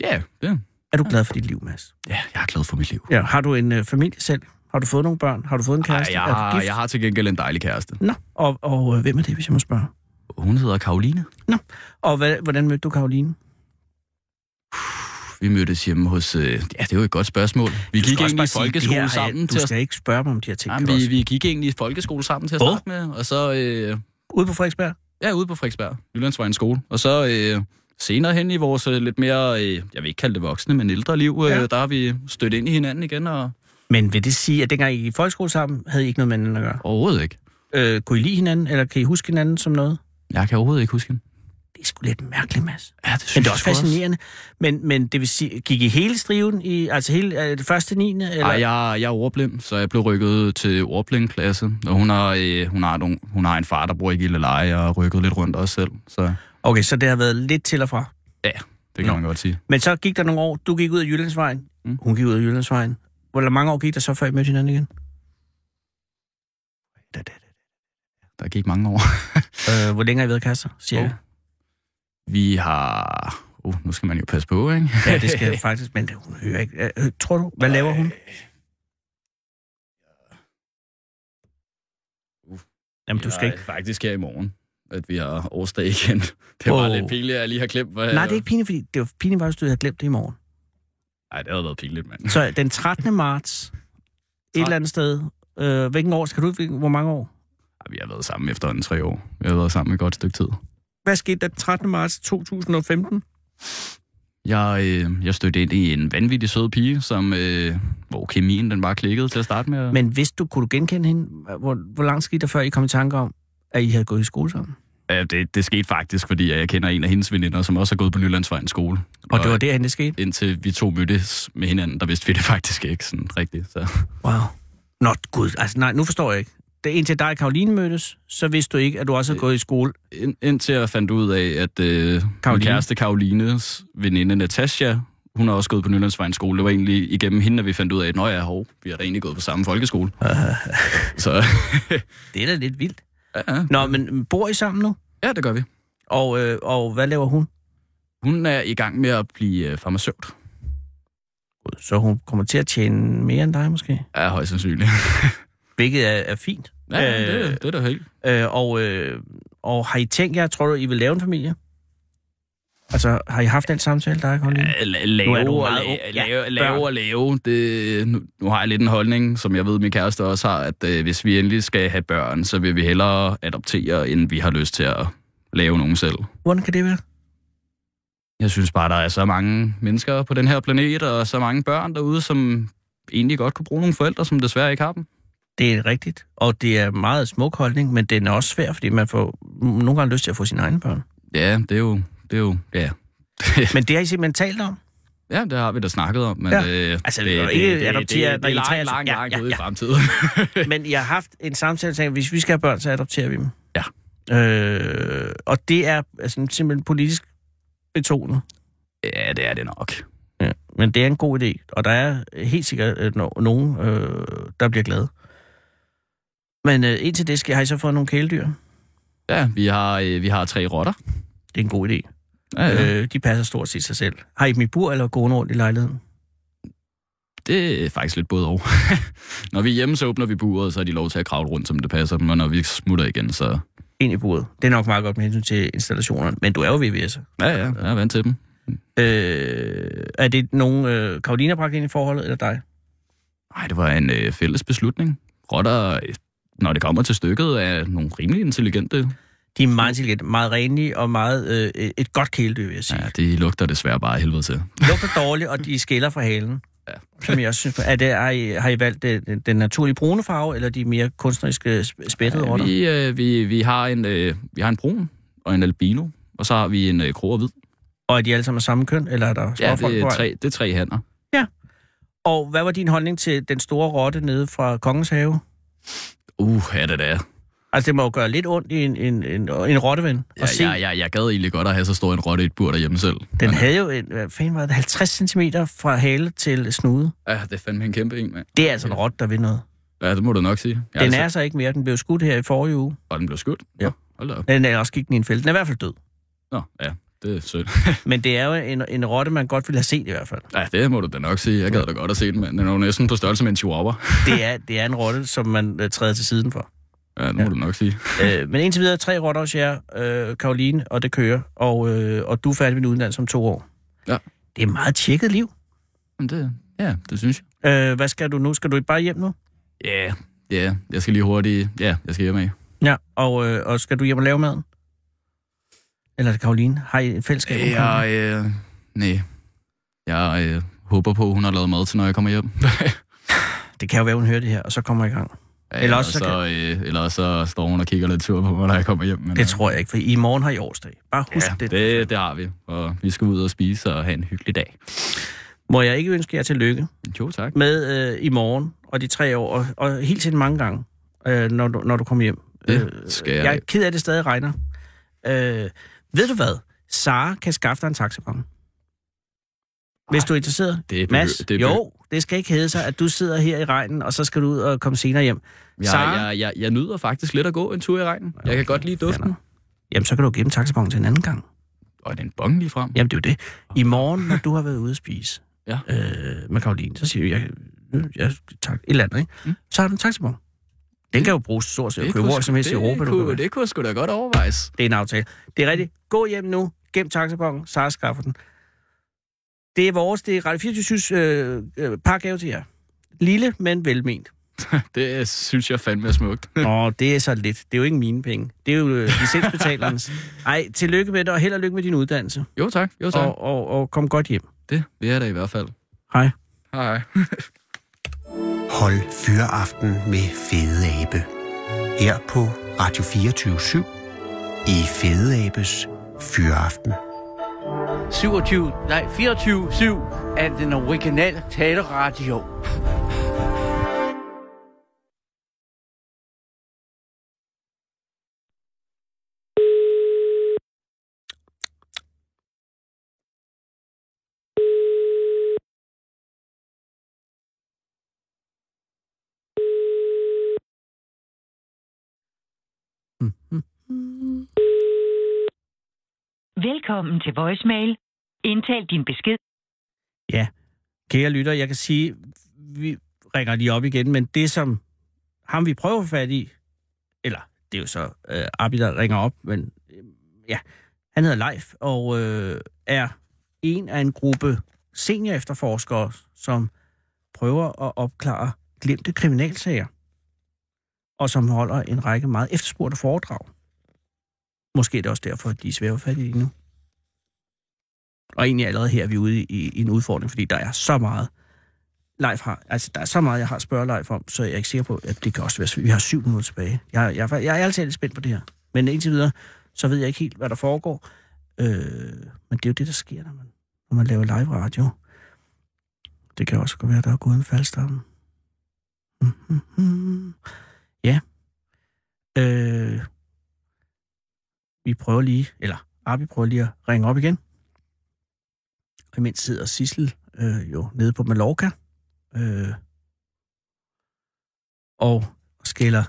Speaker 8: Ja, det.
Speaker 5: Er du glad for dit liv, Mads?
Speaker 8: Ja, jeg er glad for mit liv.
Speaker 5: Ja, har du en øh, familie selv? Har du fået nogle børn? Har du fået en
Speaker 8: Ej,
Speaker 5: kæreste?
Speaker 8: jeg,
Speaker 5: er du
Speaker 8: har, jeg har til gengæld en dejlig kæreste.
Speaker 5: Nå, og, og øh, hvem er det, hvis jeg må spørge?
Speaker 8: Hun hedder Karoline.
Speaker 5: Og hvad, hvordan mødte du Karoline?
Speaker 8: Vi mødtes hjemme hos... Øh, ja, det er jo et godt spørgsmål. Vi
Speaker 5: Du skal
Speaker 8: gik
Speaker 5: også
Speaker 8: egentlig
Speaker 5: bare
Speaker 8: i
Speaker 5: sige,
Speaker 8: folkeskole
Speaker 5: det her,
Speaker 8: sammen
Speaker 5: øh,
Speaker 8: til
Speaker 5: Du
Speaker 8: at...
Speaker 5: skal ikke spørge mig om de her ting.
Speaker 8: Jamen,
Speaker 5: Jamen,
Speaker 8: vi, vi gik egentlig i folkeskole sammen til at
Speaker 5: Åh.
Speaker 8: starte med, og så... Øh,
Speaker 5: Ude på Frederiksberg?
Speaker 8: ja, ude på Frederiksberg, Jyllandsvejens skole. Og så øh, senere hen i vores øh, lidt mere, øh, jeg vil ikke kalde det voksne, men ældre liv, øh,
Speaker 5: Ja.
Speaker 8: der har vi stødt ind i hinanden igen, og
Speaker 5: Men vil det sige, at dengang I gik i folkeskole sammen, havde I ikke noget med hinanden at gøre?
Speaker 8: overhovedet ikke.
Speaker 5: Øh, kunne I lide hinanden, eller kan I huske hinanden som noget?
Speaker 8: Jeg kan overhovedet ikke huske hende.
Speaker 5: Det er sgu lidt mærkeligt, Mads.
Speaker 8: Ja, det synes
Speaker 5: Men det er også
Speaker 8: jeg sgu
Speaker 5: fascinerende. Men, men det vil sige, gik I hele striven, i, altså hele, er det første 9. Eller?
Speaker 8: Ej, jeg, jeg er ordblind, så jeg blev rykket til ordblindklasse, og hun har, øh, hun, har nogle, hun har en far, der bor i Gilleleje, og rykket lidt rundt også selv, så
Speaker 5: Okay, så det har været lidt til og fra.
Speaker 8: det kan
Speaker 5: Nå.
Speaker 8: man godt sige.
Speaker 5: Men så gik der nogle år, du gik ud af Jyllandsvejen,
Speaker 8: Mm.
Speaker 5: hun gik ud af Jyllandsvejen. Hvor mange år gik der så, før I mødte hinanden igen?
Speaker 8: Der gik mange år.
Speaker 5: Øh, hvor længe har I været kasser, cirka?
Speaker 8: Vi har... Uh, nu skal man jo passe på, ikke?
Speaker 5: Ja, det skal jeg faktisk, men hun hører ikke. Øh, tror du, hvad laver hun?
Speaker 8: Uh.
Speaker 5: Jamen, du skal
Speaker 8: Jeg
Speaker 5: ikke.
Speaker 8: er faktisk her i morgen, at vi har årsdag igen. *laughs* Det var
Speaker 5: Wow.
Speaker 8: oh. lidt pinligt, at jeg lige har glemt, hvad...
Speaker 5: Nej, det er ikke pinligt, fordi det var pinligt, faktisk, at du havde glemt det i morgen.
Speaker 8: Nej, det havde været pinligt, mand.
Speaker 5: Så den 13. marts, et eller andet sted, øh, hvilken år, skal du ikke, hvor mange år?
Speaker 8: Ej, Vi har været sammen efterhånden tre år. Vi har været sammen et godt stykke tid.
Speaker 5: Hvad skete der den 13. marts 2015?
Speaker 8: Jeg, øh, jeg stødte ind i en vanvittig sød pige, som, øh, hvor kemien den bare klikkede til at starte med. Men...
Speaker 5: Men hvis du kunne du genkende hende, hvor, hvor langt skete der, før I kom i tanke om, at I havde gået i skole sammen?
Speaker 8: Ja, det, det skete faktisk, fordi jeg kender en af hendes veninder, som også har gået på Nylandsvejens skole.
Speaker 5: Og det var derhen, det skete?
Speaker 8: Indtil vi to mødtes med hinanden, der vidste vi det faktisk ikke sådan rigtigt. Så.
Speaker 5: Wow. Nå, gud, altså nej, nu forstår jeg ikke. Det er indtil dig og Karoline mødtes, så vidste du ikke, at du også havde gået i skole.
Speaker 8: Ind, indtil jeg fandt ud af, at øh, min
Speaker 5: Karoline.
Speaker 8: kæreste Karolines veninde Natasha, hun har også gået på Nylandsvejens skole. Det var egentlig igennem hende, at vi fandt ud af, at nå ja, hov, vi har da egentlig gået på samme folkeskole. så
Speaker 5: Det er da lidt vildt.
Speaker 8: ja, ja.
Speaker 5: Nå, men bor I sammen nu?
Speaker 8: ja, det gør vi.
Speaker 5: Og, øh, og hvad laver hun?
Speaker 8: Hun er i gang med at blive øh, farmaceut.
Speaker 5: Gud, Så hun kommer til at tjene mere end dig måske?
Speaker 8: Ja, højst sandsynligt.
Speaker 5: Hvilket er, er fint.
Speaker 8: Ja, øh,
Speaker 5: Øh,
Speaker 8: det, det er da helt.
Speaker 5: Øh, og, øh, og har I tænkt jer, tror du, I vil lave en familie? Altså, har I haft den samtale, der er Karoline?
Speaker 8: Ja, la-
Speaker 5: Nu er
Speaker 8: Lave
Speaker 5: du
Speaker 8: og
Speaker 5: meget ung.
Speaker 8: la-
Speaker 5: Ja,
Speaker 8: lave-
Speaker 5: børn.
Speaker 8: lave og lave. Det, nu, nu har jeg lidt en holdning, som jeg ved, min kæreste også har, at øh, hvis vi endelig skal have børn, så vil vi hellere adoptere, end vi har lyst til at lave nogen selv.
Speaker 5: Hvordan kan det være?
Speaker 8: Jeg synes bare, der er så mange mennesker på den her planet, og så mange børn derude, som egentlig godt kunne bruge nogle forældre, som desværre ikke har dem.
Speaker 5: Det er rigtigt, og det er en meget smuk holdning, men den er også svær, fordi man får nogle gange lyst til at få sine egne børn.
Speaker 8: Ja, det er jo... Det er jo ja.
Speaker 5: Men det har I simpelthen talt om?
Speaker 8: ja, det har vi da snakket om, men...
Speaker 5: Ja.
Speaker 8: Øh,
Speaker 5: Altså, vi kan jo ikke adoptere,
Speaker 8: det,
Speaker 5: når
Speaker 8: det
Speaker 5: I
Speaker 8: er langt,
Speaker 5: tre er-
Speaker 8: langt, langt
Speaker 5: Ja, ja,
Speaker 8: ude
Speaker 5: ja.
Speaker 8: i fremtiden. *laughs*
Speaker 5: *laughs* Men jeg har haft en samtale, der tænkte, hvis vi skal have børn, så adopterer vi dem.
Speaker 8: Ja.
Speaker 5: Øh, og det er altså, simpelthen politisk betonet.
Speaker 8: ja, det er det nok.
Speaker 5: Ja. Men det er en god idé, og der er helt sikkert øh, no- nogen, øh, der bliver glade. Men øh, indtil det skal, har I så fået nogle kæledyr?
Speaker 8: Ja, vi har, øh, vi har tre rotter.
Speaker 5: Det er en god idé.
Speaker 8: Ja, ja.
Speaker 5: Øh, de passer stort set sig selv. Har I dem i bur eller gående rundt i lejligheden?
Speaker 8: Det er faktisk lidt både og. *laughs* når vi er hjemme, så åbner vi buret, så er de lov til at kravle rundt, som det passer dem, og når vi smutter igen, så...
Speaker 5: Ind i buret. Det er nok meget godt med hensyn til installationerne, men du er jo VVS'er.
Speaker 8: Ja, ja, jeg er vant til dem.
Speaker 5: Øh, er det nogen, øh, Karolina bragte ind i forholdet, eller dig?
Speaker 8: Nej, det var en øh, fælles beslutning. Rotter, øh, når det kommer til stykket, er nogle rimelig intelligente.
Speaker 5: De er meget intelligente, meget renlige og meget, øh, et godt kæledyr, vil jeg sige.
Speaker 8: Ja, de lugter desværre bare af helvede til.
Speaker 5: Ja. Lugter dårligt, og de skiller fra halen. Ja.
Speaker 8: Ja.
Speaker 5: Som jeg også synes, er det, har, I, har I valgt øh, den, den naturlige brune farve, eller de mere kunstneriske øh, sp- spættede ja,
Speaker 8: Ja,
Speaker 5: rotter?
Speaker 8: vi, øh, vi, vi, har en, øh, vi har en brun og en albino, og så har vi en øh, krog og hvid.
Speaker 5: Og er de alle sammen af samme køn, eller er der
Speaker 8: Ja,
Speaker 5: småfolk
Speaker 8: det
Speaker 5: på
Speaker 8: er,
Speaker 5: vej?
Speaker 8: tre, det er tre hanner.
Speaker 5: Og hvad var din holdning til den store rotte nede fra Kongens Have?
Speaker 8: Uh, ja, det er.
Speaker 5: Altså, det må jo gøre lidt ondt i en, en, en, en rotteven at
Speaker 8: Jeg,
Speaker 5: se.
Speaker 8: jeg, jeg, jeg gad egentlig godt at have så stor en rotte i et bur derhjemme selv.
Speaker 5: Den
Speaker 8: Men,
Speaker 5: havde jo en, hvad fanden var det, 50 cm fra hale til snude.
Speaker 8: Ja, det er fandme en kæmpe en, mand.
Speaker 5: Det er altså en rot, der ved noget.
Speaker 8: Ja, det må du nok sige. Jeg
Speaker 5: Den
Speaker 8: altså-
Speaker 5: er så ikke mere. Den blev skudt her i forrige uge.
Speaker 8: Og den blev skudt.
Speaker 5: Ja.
Speaker 8: Hold da op.
Speaker 5: Den er også gik den i en fælde. Den er i hvert fald død.
Speaker 8: Nå, ja, det er sødt.
Speaker 5: Men det er jo en, en rotte, man godt ville have set i hvert fald.
Speaker 8: Ja, det må du da nok sige. Jeg gad da godt at se den, men den er jo næsten på størrelse med en chihuahua.
Speaker 5: Det er, det er en rotte, som man øh, træder til siden for.
Speaker 8: Ja, det må
Speaker 5: Ja.
Speaker 8: du nok sige.
Speaker 5: Øh, men indtil videre tre rotter hos jer, øh, Karoline, og det kører. Og, øh, og du er færdig med din uddannelse om to år.
Speaker 8: Ja.
Speaker 5: Det er et meget tjekket liv.
Speaker 8: Men det, ja, det synes jeg.
Speaker 5: Øh, hvad skal du nu? Skal du bare hjem nu?
Speaker 8: Ja, yeah. ja, yeah. jeg skal lige hurtigt... Ja, yeah, jeg skal hjem af.
Speaker 5: Ja, og, øh, og skal du hjem og lave maden? Eller er det Karoline? Har I et fællesskab? omkring det?
Speaker 8: Jeg, øh, nej. Jeg øh, håber på, hun har lavet mad til, når jeg
Speaker 5: *laughs*
Speaker 8: kommer hjem.
Speaker 5: Det kan jo være, hun hører det her, og så kommer jeg i gang.
Speaker 8: Ja,
Speaker 5: Eller også så
Speaker 8: så, øh, eller så står hun og kigger lidt sur på mig, når jeg kommer hjem. Men, øh,
Speaker 5: Det tror jeg ikke, for i morgen har I årsdag. Bare husk
Speaker 8: ja,
Speaker 5: det.
Speaker 8: det. Det har vi, og vi skal ud og spise og have en hyggelig dag.
Speaker 5: Må jeg ikke ønske jer tillykke
Speaker 8: Jo, tak.
Speaker 5: med øh, i morgen og de tre år, og, og helt til mange gange, øh, når, du, når du kommer hjem.
Speaker 8: Det skal jeg.
Speaker 5: Øh, Jeg er ked af, at det stadig regner. Øh, ved du hvad? Sara kan skaffe dig en taxabon. Hvis du er interesseret.
Speaker 8: Det er behø-
Speaker 5: Mads,
Speaker 8: det er behø-
Speaker 5: jo, det skal ikke hedde sig, at du sidder her i regnen, og så skal du ud og komme senere hjem.
Speaker 8: Jeg,
Speaker 5: Sara?
Speaker 8: jeg, jeg, jeg nyder faktisk lidt at gå en tur i regnen. Jeg kan godt lide duften.
Speaker 5: Jamen, så kan du gemme taxabonen til en anden gang.
Speaker 8: Og er det en bong lige frem?
Speaker 5: Jamen, det er jo det. I morgen, når du har været ude at spise
Speaker 8: *laughs* Ja.
Speaker 5: øh, med Karoline, så siger du, jeg, jeg tak, et eller andet, ikke? Mm. Så har du en taxabon. Den kan jo bruges stort set at købe hvor som helst i Europa.
Speaker 8: det,
Speaker 5: du kan
Speaker 8: kunne,
Speaker 5: være.
Speaker 8: det kunne sgu da godt overvejes.
Speaker 5: det er en aftale. Det er rigtigt. Gå hjem nu, gem taxabongen, Sara skaffer den. Det er vores, det er Radio 24 øh, øh, pargave til jer. Lille, men
Speaker 8: *laughs*
Speaker 5: velment.
Speaker 8: Det synes jeg fandme er smukt.
Speaker 5: Åh, det er så lidt. Det er jo ikke mine penge. Det er jo øh,
Speaker 8: *laughs*
Speaker 5: licensbetalernes. Ej, tillykke med det, og held og lykke med din uddannelse.
Speaker 8: Jo tak, jo tak.
Speaker 5: Og, og, og kom godt hjem.
Speaker 8: Det vil jeg da i hvert fald.
Speaker 5: Hej.
Speaker 8: Hej.
Speaker 3: Hold fyreaften med Fede Abe. Her på Radio 24 i Fede Abes Fyreaften.
Speaker 9: 27, nej 24-7 af den originale taleradio.
Speaker 5: Mm-hmm.
Speaker 10: Velkommen til voicemail. Indtal din besked.
Speaker 5: Kære lytter, jeg kan sige, vi ringer lige op igen, men det som ham vi prøver at få fat i, eller det er jo så øh, Abi, der ringer op, men øh, ja, han hedder Leif og øh, er en af en gruppe senior efterforskere, som prøver at opklare glemte kriminalsager, og som holder en række meget efterspurgte foredrag. Måske er det også derfor, at de er svære at få fat i lige nu. Og egentlig allerede her er vi ude i, i en udfordring, fordi der er så meget, Leif har, altså der er så meget, jeg har at spørge Leif om, så jeg er ikke sikker på, at det kan også være svært. Vi har syv minutter tilbage. Jeg, jeg, jeg, jeg er altid lidt spændt på det her. Men indtil videre, så ved jeg ikke helt, hvad der foregår. Øh, men det er jo det, der sker, når man, når man laver live radio. Det kan også godt være, at der er gået en faldstamme. Mhm. Ja. Øh, vi prøver lige, eller Arbi prøver lige at ringe op igen. Og imens sidder Sissel øh, jo nede på Mallorca. Øh, og skælder,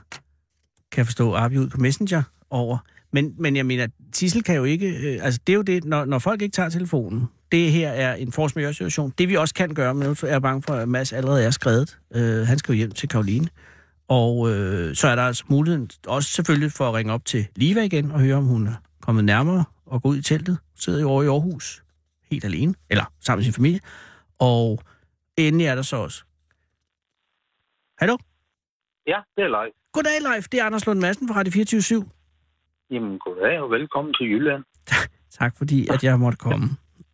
Speaker 5: kan jeg forstå, Arbi ud på Messenger over. Men, men jeg mener, Sissel kan jo ikke... Øh, altså, det er jo det, når, når folk ikke tager telefonen. Det her er en force majeure situation. Det vi også kan gøre, men nu er jeg bange for, at Mads allerede er skrevet. Øh, han skal jo hjem til Karoline. Og øh, så er der altså muligheden også selvfølgelig for at ringe op til Liva igen og høre, om hun er kommet nærmere og gå ud i teltet. Sidder jo over i Aarhus helt alene, eller sammen med sin familie. Og endelig er der så også. Hallo?
Speaker 11: Ja, det er Leif.
Speaker 5: Goddag, Leif. Det er Anders Lund Madsen fra Radio 24
Speaker 11: Jamen, goddag og velkommen til Jylland.
Speaker 5: *laughs* Tak fordi, at jeg måtte komme.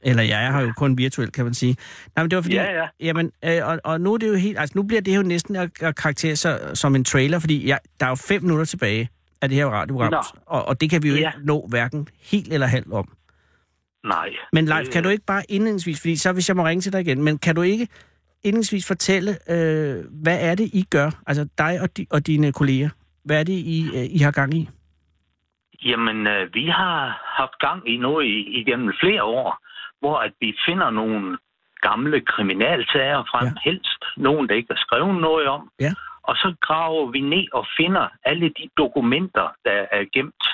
Speaker 5: Eller jeg har jo kun virtuelt, kan man sige. Nej, men det var fordi...
Speaker 11: Ja, ja.
Speaker 5: Jamen, øh, og, og, nu er det jo helt... Altså, nu bliver det jo næsten at, at karakterisere sig som en trailer, fordi jeg, der er jo fem minutter tilbage af det her radioprogram.
Speaker 11: Nå.
Speaker 5: Og, og det kan vi jo
Speaker 11: Ja.
Speaker 5: ikke nå hverken helt eller halvt om.
Speaker 11: Nej.
Speaker 5: Men Leif,
Speaker 11: Øh,
Speaker 5: kan du ikke bare indledningsvis, fordi så hvis jeg må ringe til dig igen, men kan du ikke indledningsvis fortælle, øh, hvad er det, I gør? Altså dig og, di- og dine kolleger. Hvad er det, I, øh, I har gang i?
Speaker 11: Jamen, øh, vi har haft gang i noget i, igennem flere år, hvor at vi finder nogle gamle kriminalsager frem,
Speaker 5: Ja.
Speaker 11: ja. helst nogen, der ikke er skrevet noget om.
Speaker 5: Ja.
Speaker 11: Og så graver vi ned og finder alle de dokumenter, der er gemt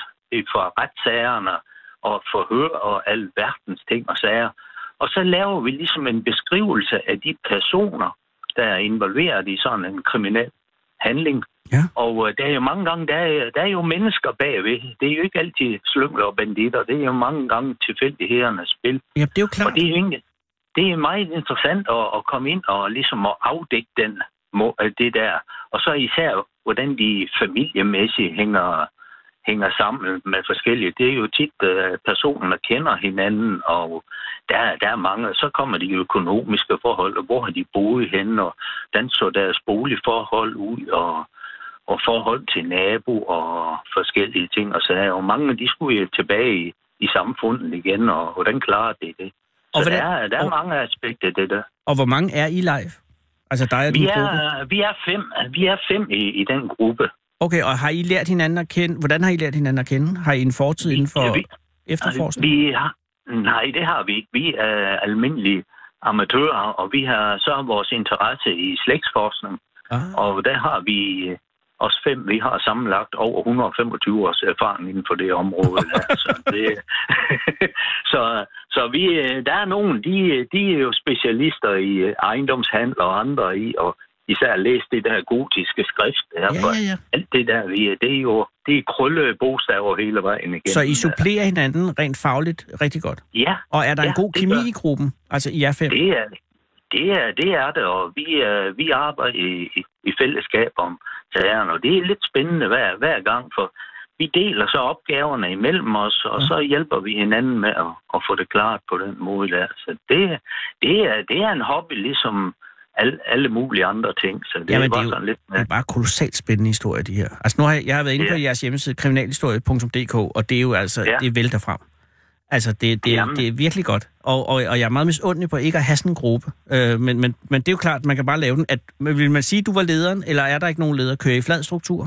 Speaker 7: for retssagerne og forhør og al verdens ting og sager. Og så laver vi ligesom en beskrivelse af de personer, der er involveret i sådan en kriminel handling.
Speaker 5: Ja.
Speaker 7: Og øh, der er jo mange gange, der er, der er jo mennesker bagved. Det er jo ikke altid slyngler og banditter. Det er jo mange gange tilfældighedernes spil.
Speaker 5: Ja, det er jo klart.
Speaker 7: Og det er, egentlig, det er meget interessant at, at komme ind og ligesom at afdække den, må- øh, det der. Og så især, hvordan de familiemæssigt hænger, hænger sammen med forskellige. Det er jo tit øh, personen, der kender hinanden, og der, der er mange. Så kommer de økonomiske forhold, og hvor har de boet henne, og hvordan så deres boligforhold ud, og og forhold til nabo og forskellige ting og sager. Og mange af de skulle jo tilbage i, i samfundet igen, og hvordan klarer det det? Så
Speaker 5: Og
Speaker 7: og
Speaker 5: hvordan-
Speaker 7: der, er, der er
Speaker 5: og-
Speaker 7: mange aspekter af det der.
Speaker 5: Og hvor mange er I live? Altså dig og din
Speaker 7: Vi
Speaker 5: gruppe?
Speaker 7: er, vi er fem, vi er fem i, i den gruppe.
Speaker 5: Okay, og har I lært hinanden at kende? Hvordan har I lært hinanden at kende? Har I en fortid inden for
Speaker 7: Ja, vi-
Speaker 5: efterforskning?
Speaker 7: Vi har, nej, det har vi ikke. Vi er almindelige amatører, og vi har så har vores interesse i slægtsforskning.
Speaker 5: Ah.
Speaker 7: Og der har vi øh, os fem, vi har sammenlagt over 125 års erfaring inden for det område.
Speaker 5: *laughs*
Speaker 7: Der. Så, det, *laughs* så, så vi, øh, der er nogen, de, øh, de er jo specialister i øh, ejendomshandel og andre i, og især læse det der gotiske skrift. Der,
Speaker 5: Ja,
Speaker 7: for
Speaker 5: ja, ja.
Speaker 7: Alt det der, vi, øh, det er jo det er krølle bogstaver hele vejen igennem.
Speaker 5: Så I supplerer hinanden rent fagligt rigtig godt?
Speaker 7: Ja,
Speaker 5: Og er der
Speaker 7: ja,
Speaker 5: en god
Speaker 7: det
Speaker 5: kemi
Speaker 7: gør-
Speaker 5: i gruppen? Altså i jer fem?
Speaker 7: det er det. Er, det er det, og vi, øh, vi arbejder i, i, i fællesskab om sagerne, og det er lidt spændende hver, hver gang, for vi deler så opgaverne imellem os, og så hjælper vi hinanden med at, at få det klart på den måde der. Så det, det, er, det er en hobby, ligesom alle, alle mulige andre ting, så det
Speaker 5: Jamen,
Speaker 7: er
Speaker 5: det er
Speaker 7: bare
Speaker 5: jo-
Speaker 7: sådan lidt...
Speaker 5: Det er bare kolossalt spændende historier, de her. Altså nu har jeg, jeg har været inde på
Speaker 7: Ja.
Speaker 5: jeres hjemmeside, kriminalhistorie.dk, og det er jo altså,
Speaker 7: Ja.
Speaker 5: det vælter frem. Altså, det, det,
Speaker 7: Jamen.
Speaker 5: det er virkelig godt. Og, og, og jeg er meget misundelig på ikke at have sådan en gruppe. Øh, men, men, men det er jo klart, man kan bare lave den. At, men vil man sige, at du var lederen, eller er der ikke nogen leder? Kører I flad struktur?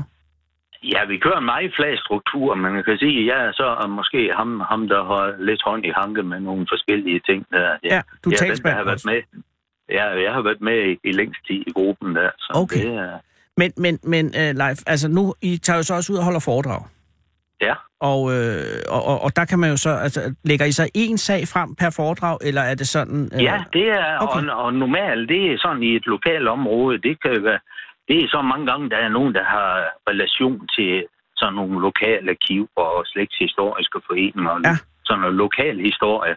Speaker 7: Ja, vi kører en meget flad struktur, men man kan sige, at jeg er så måske ham, ham der har lidt hånd i hanke med nogle forskellige ting. Der.
Speaker 5: Ja, du er
Speaker 7: jeg den, der
Speaker 5: talsmand
Speaker 7: har været
Speaker 5: også.
Speaker 7: med. Ja, jeg har været med i, i længst tid i gruppen der. Så
Speaker 5: Okay.
Speaker 7: Det, er-
Speaker 5: Men, men, men uh, Leif, altså nu, I tager jo så også ud og holder foredrag.
Speaker 7: ja.
Speaker 5: Og, øh, og, og, og der kan man jo så, altså, lægger I så én sag frem per foredrag, eller er det sådan... Øh,
Speaker 7: ja, det er,
Speaker 5: okay.
Speaker 7: okay. og, og normalt, det er sådan i et lokalt område, det kan jo være, det er så mange gange, der er nogen, der har relation til sådan nogle lokale arkiver og slægtshistoriske foreninger, og
Speaker 5: Ja.
Speaker 7: sådan noget lokal historie.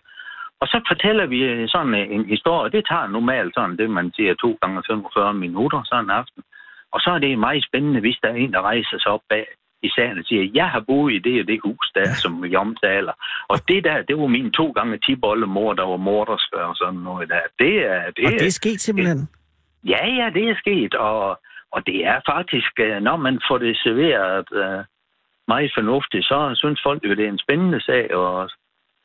Speaker 7: Og så fortæller vi øh, sådan øh, en historie, det tager normalt sådan det, man siger, 2 gange 45 minutter sådan en aften. Og så er det meget spændende, hvis der er en, der rejser sig op bag i sagen og siger, jeg har boet i det og det hus der, som vi omtaler. Og det der, det var min to gange tiboldemor, der var morderskør og sådan noget der. Det er, det,
Speaker 5: og det er sket simpelthen?
Speaker 7: Ja, ja, det er sket, og, og det er faktisk, øh, når man får det serveret øh, meget fornuftigt, så synes folk jo, det er en spændende sag, og så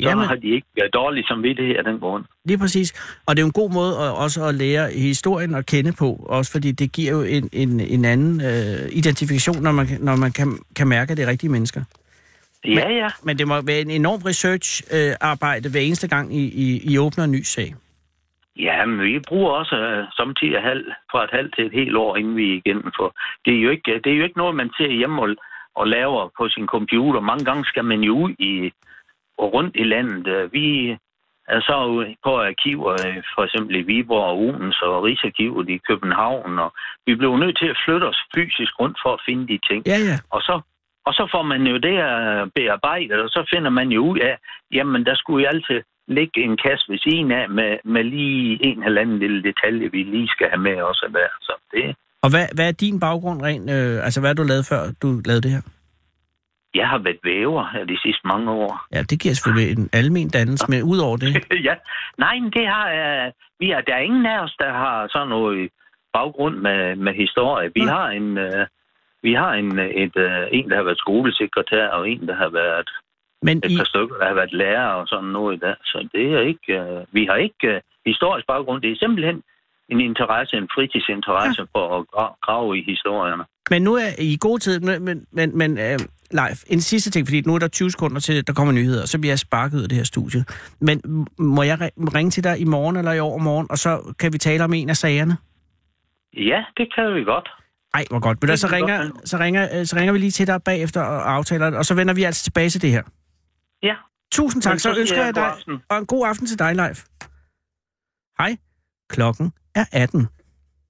Speaker 5: Jamen.
Speaker 7: Jamen. har de ikke øh, dårlig samvittighed af den grund.
Speaker 5: Lige præcis. Og det er jo en god måde at, også at lære historien at kende på, også fordi det giver jo en, en, en anden øh, identifikation, når man, kan- når man kan, kan mærke, at det er rigtige mennesker.
Speaker 7: Ja, ja.
Speaker 5: Men det må være en enorm research-arbejde øh, arbejde hver eneste gang, I, I, I åbner en ny sag.
Speaker 7: Ja, men vi bruger også øh, samtidig halv, fra et halvt til et helt år, inden vi er igennem. For det er jo ikke, øh, det er jo ikke noget, man ser hjemme og, og laver på sin computer. Mange gange skal man jo ud i, og rundt i landet. Øh, Vi er så ude på arkiver, øh, for eksempel i Viborg og Odense og Rigsarkivet i København. Og vi blev nødt til at flytte os fysisk rundt for at finde de ting.
Speaker 5: Ja, ja.
Speaker 7: Og så, og så får man jo det øh, bearbejdet, og så finder man jo ud af, jamen der skulle jo altid ligge en kasse ved siden af med, med lige en eller anden lille detalje, vi lige skal have med også der. Så det,
Speaker 5: Og hvad, hvad er din baggrund rent? Øh, altså, hvad har du lavet før, du lavede det her?
Speaker 7: jeg har været væver her de sidste mange år.
Speaker 5: Ja, det giver selvfølgelig en almen dannelse, men ud over det...
Speaker 7: ja. Nej, men det har øh, vi er, der er ingen af os, der har sådan noget baggrund med, med historie. Vi har en, øh, vi har en, øh, et, øh, en, der har været skolesekretær, og en, der har været
Speaker 5: Men
Speaker 7: et
Speaker 5: I,
Speaker 7: par stykker, der har været lærer og sådan noget der. Så det er ikke, øh, vi har ikke øh, historisk baggrund. Det er simpelthen en interesse, en fritidsinteresse ja. for at gra- grave i historierne.
Speaker 5: men nu er I i god tid, men, men, men, men øh, Leif, en sidste ting, fordi nu er der 20 sekunder til, der kommer nyheder, og så bliver jeg sparket ud af det her studie. Men m- må jeg ri- ringe til dig i morgen eller i overmorgen, og så kan vi tale om en af sagerne?
Speaker 7: Ja, det kan vi godt.
Speaker 5: Ej, hvor godt. Men da, så, ringer, så, ringer, øh, så ringer vi lige til dig bagefter og aftaler det, og så vender vi altså tilbage til det her.
Speaker 11: Ja.
Speaker 5: Tusind tak,
Speaker 11: Men så
Speaker 5: så
Speaker 11: siger
Speaker 5: ønsker
Speaker 11: jeg
Speaker 5: jeg
Speaker 11: god
Speaker 5: dig,
Speaker 11: aften.
Speaker 5: og en god aften til dig, Leif. Hej. Klokken er 18.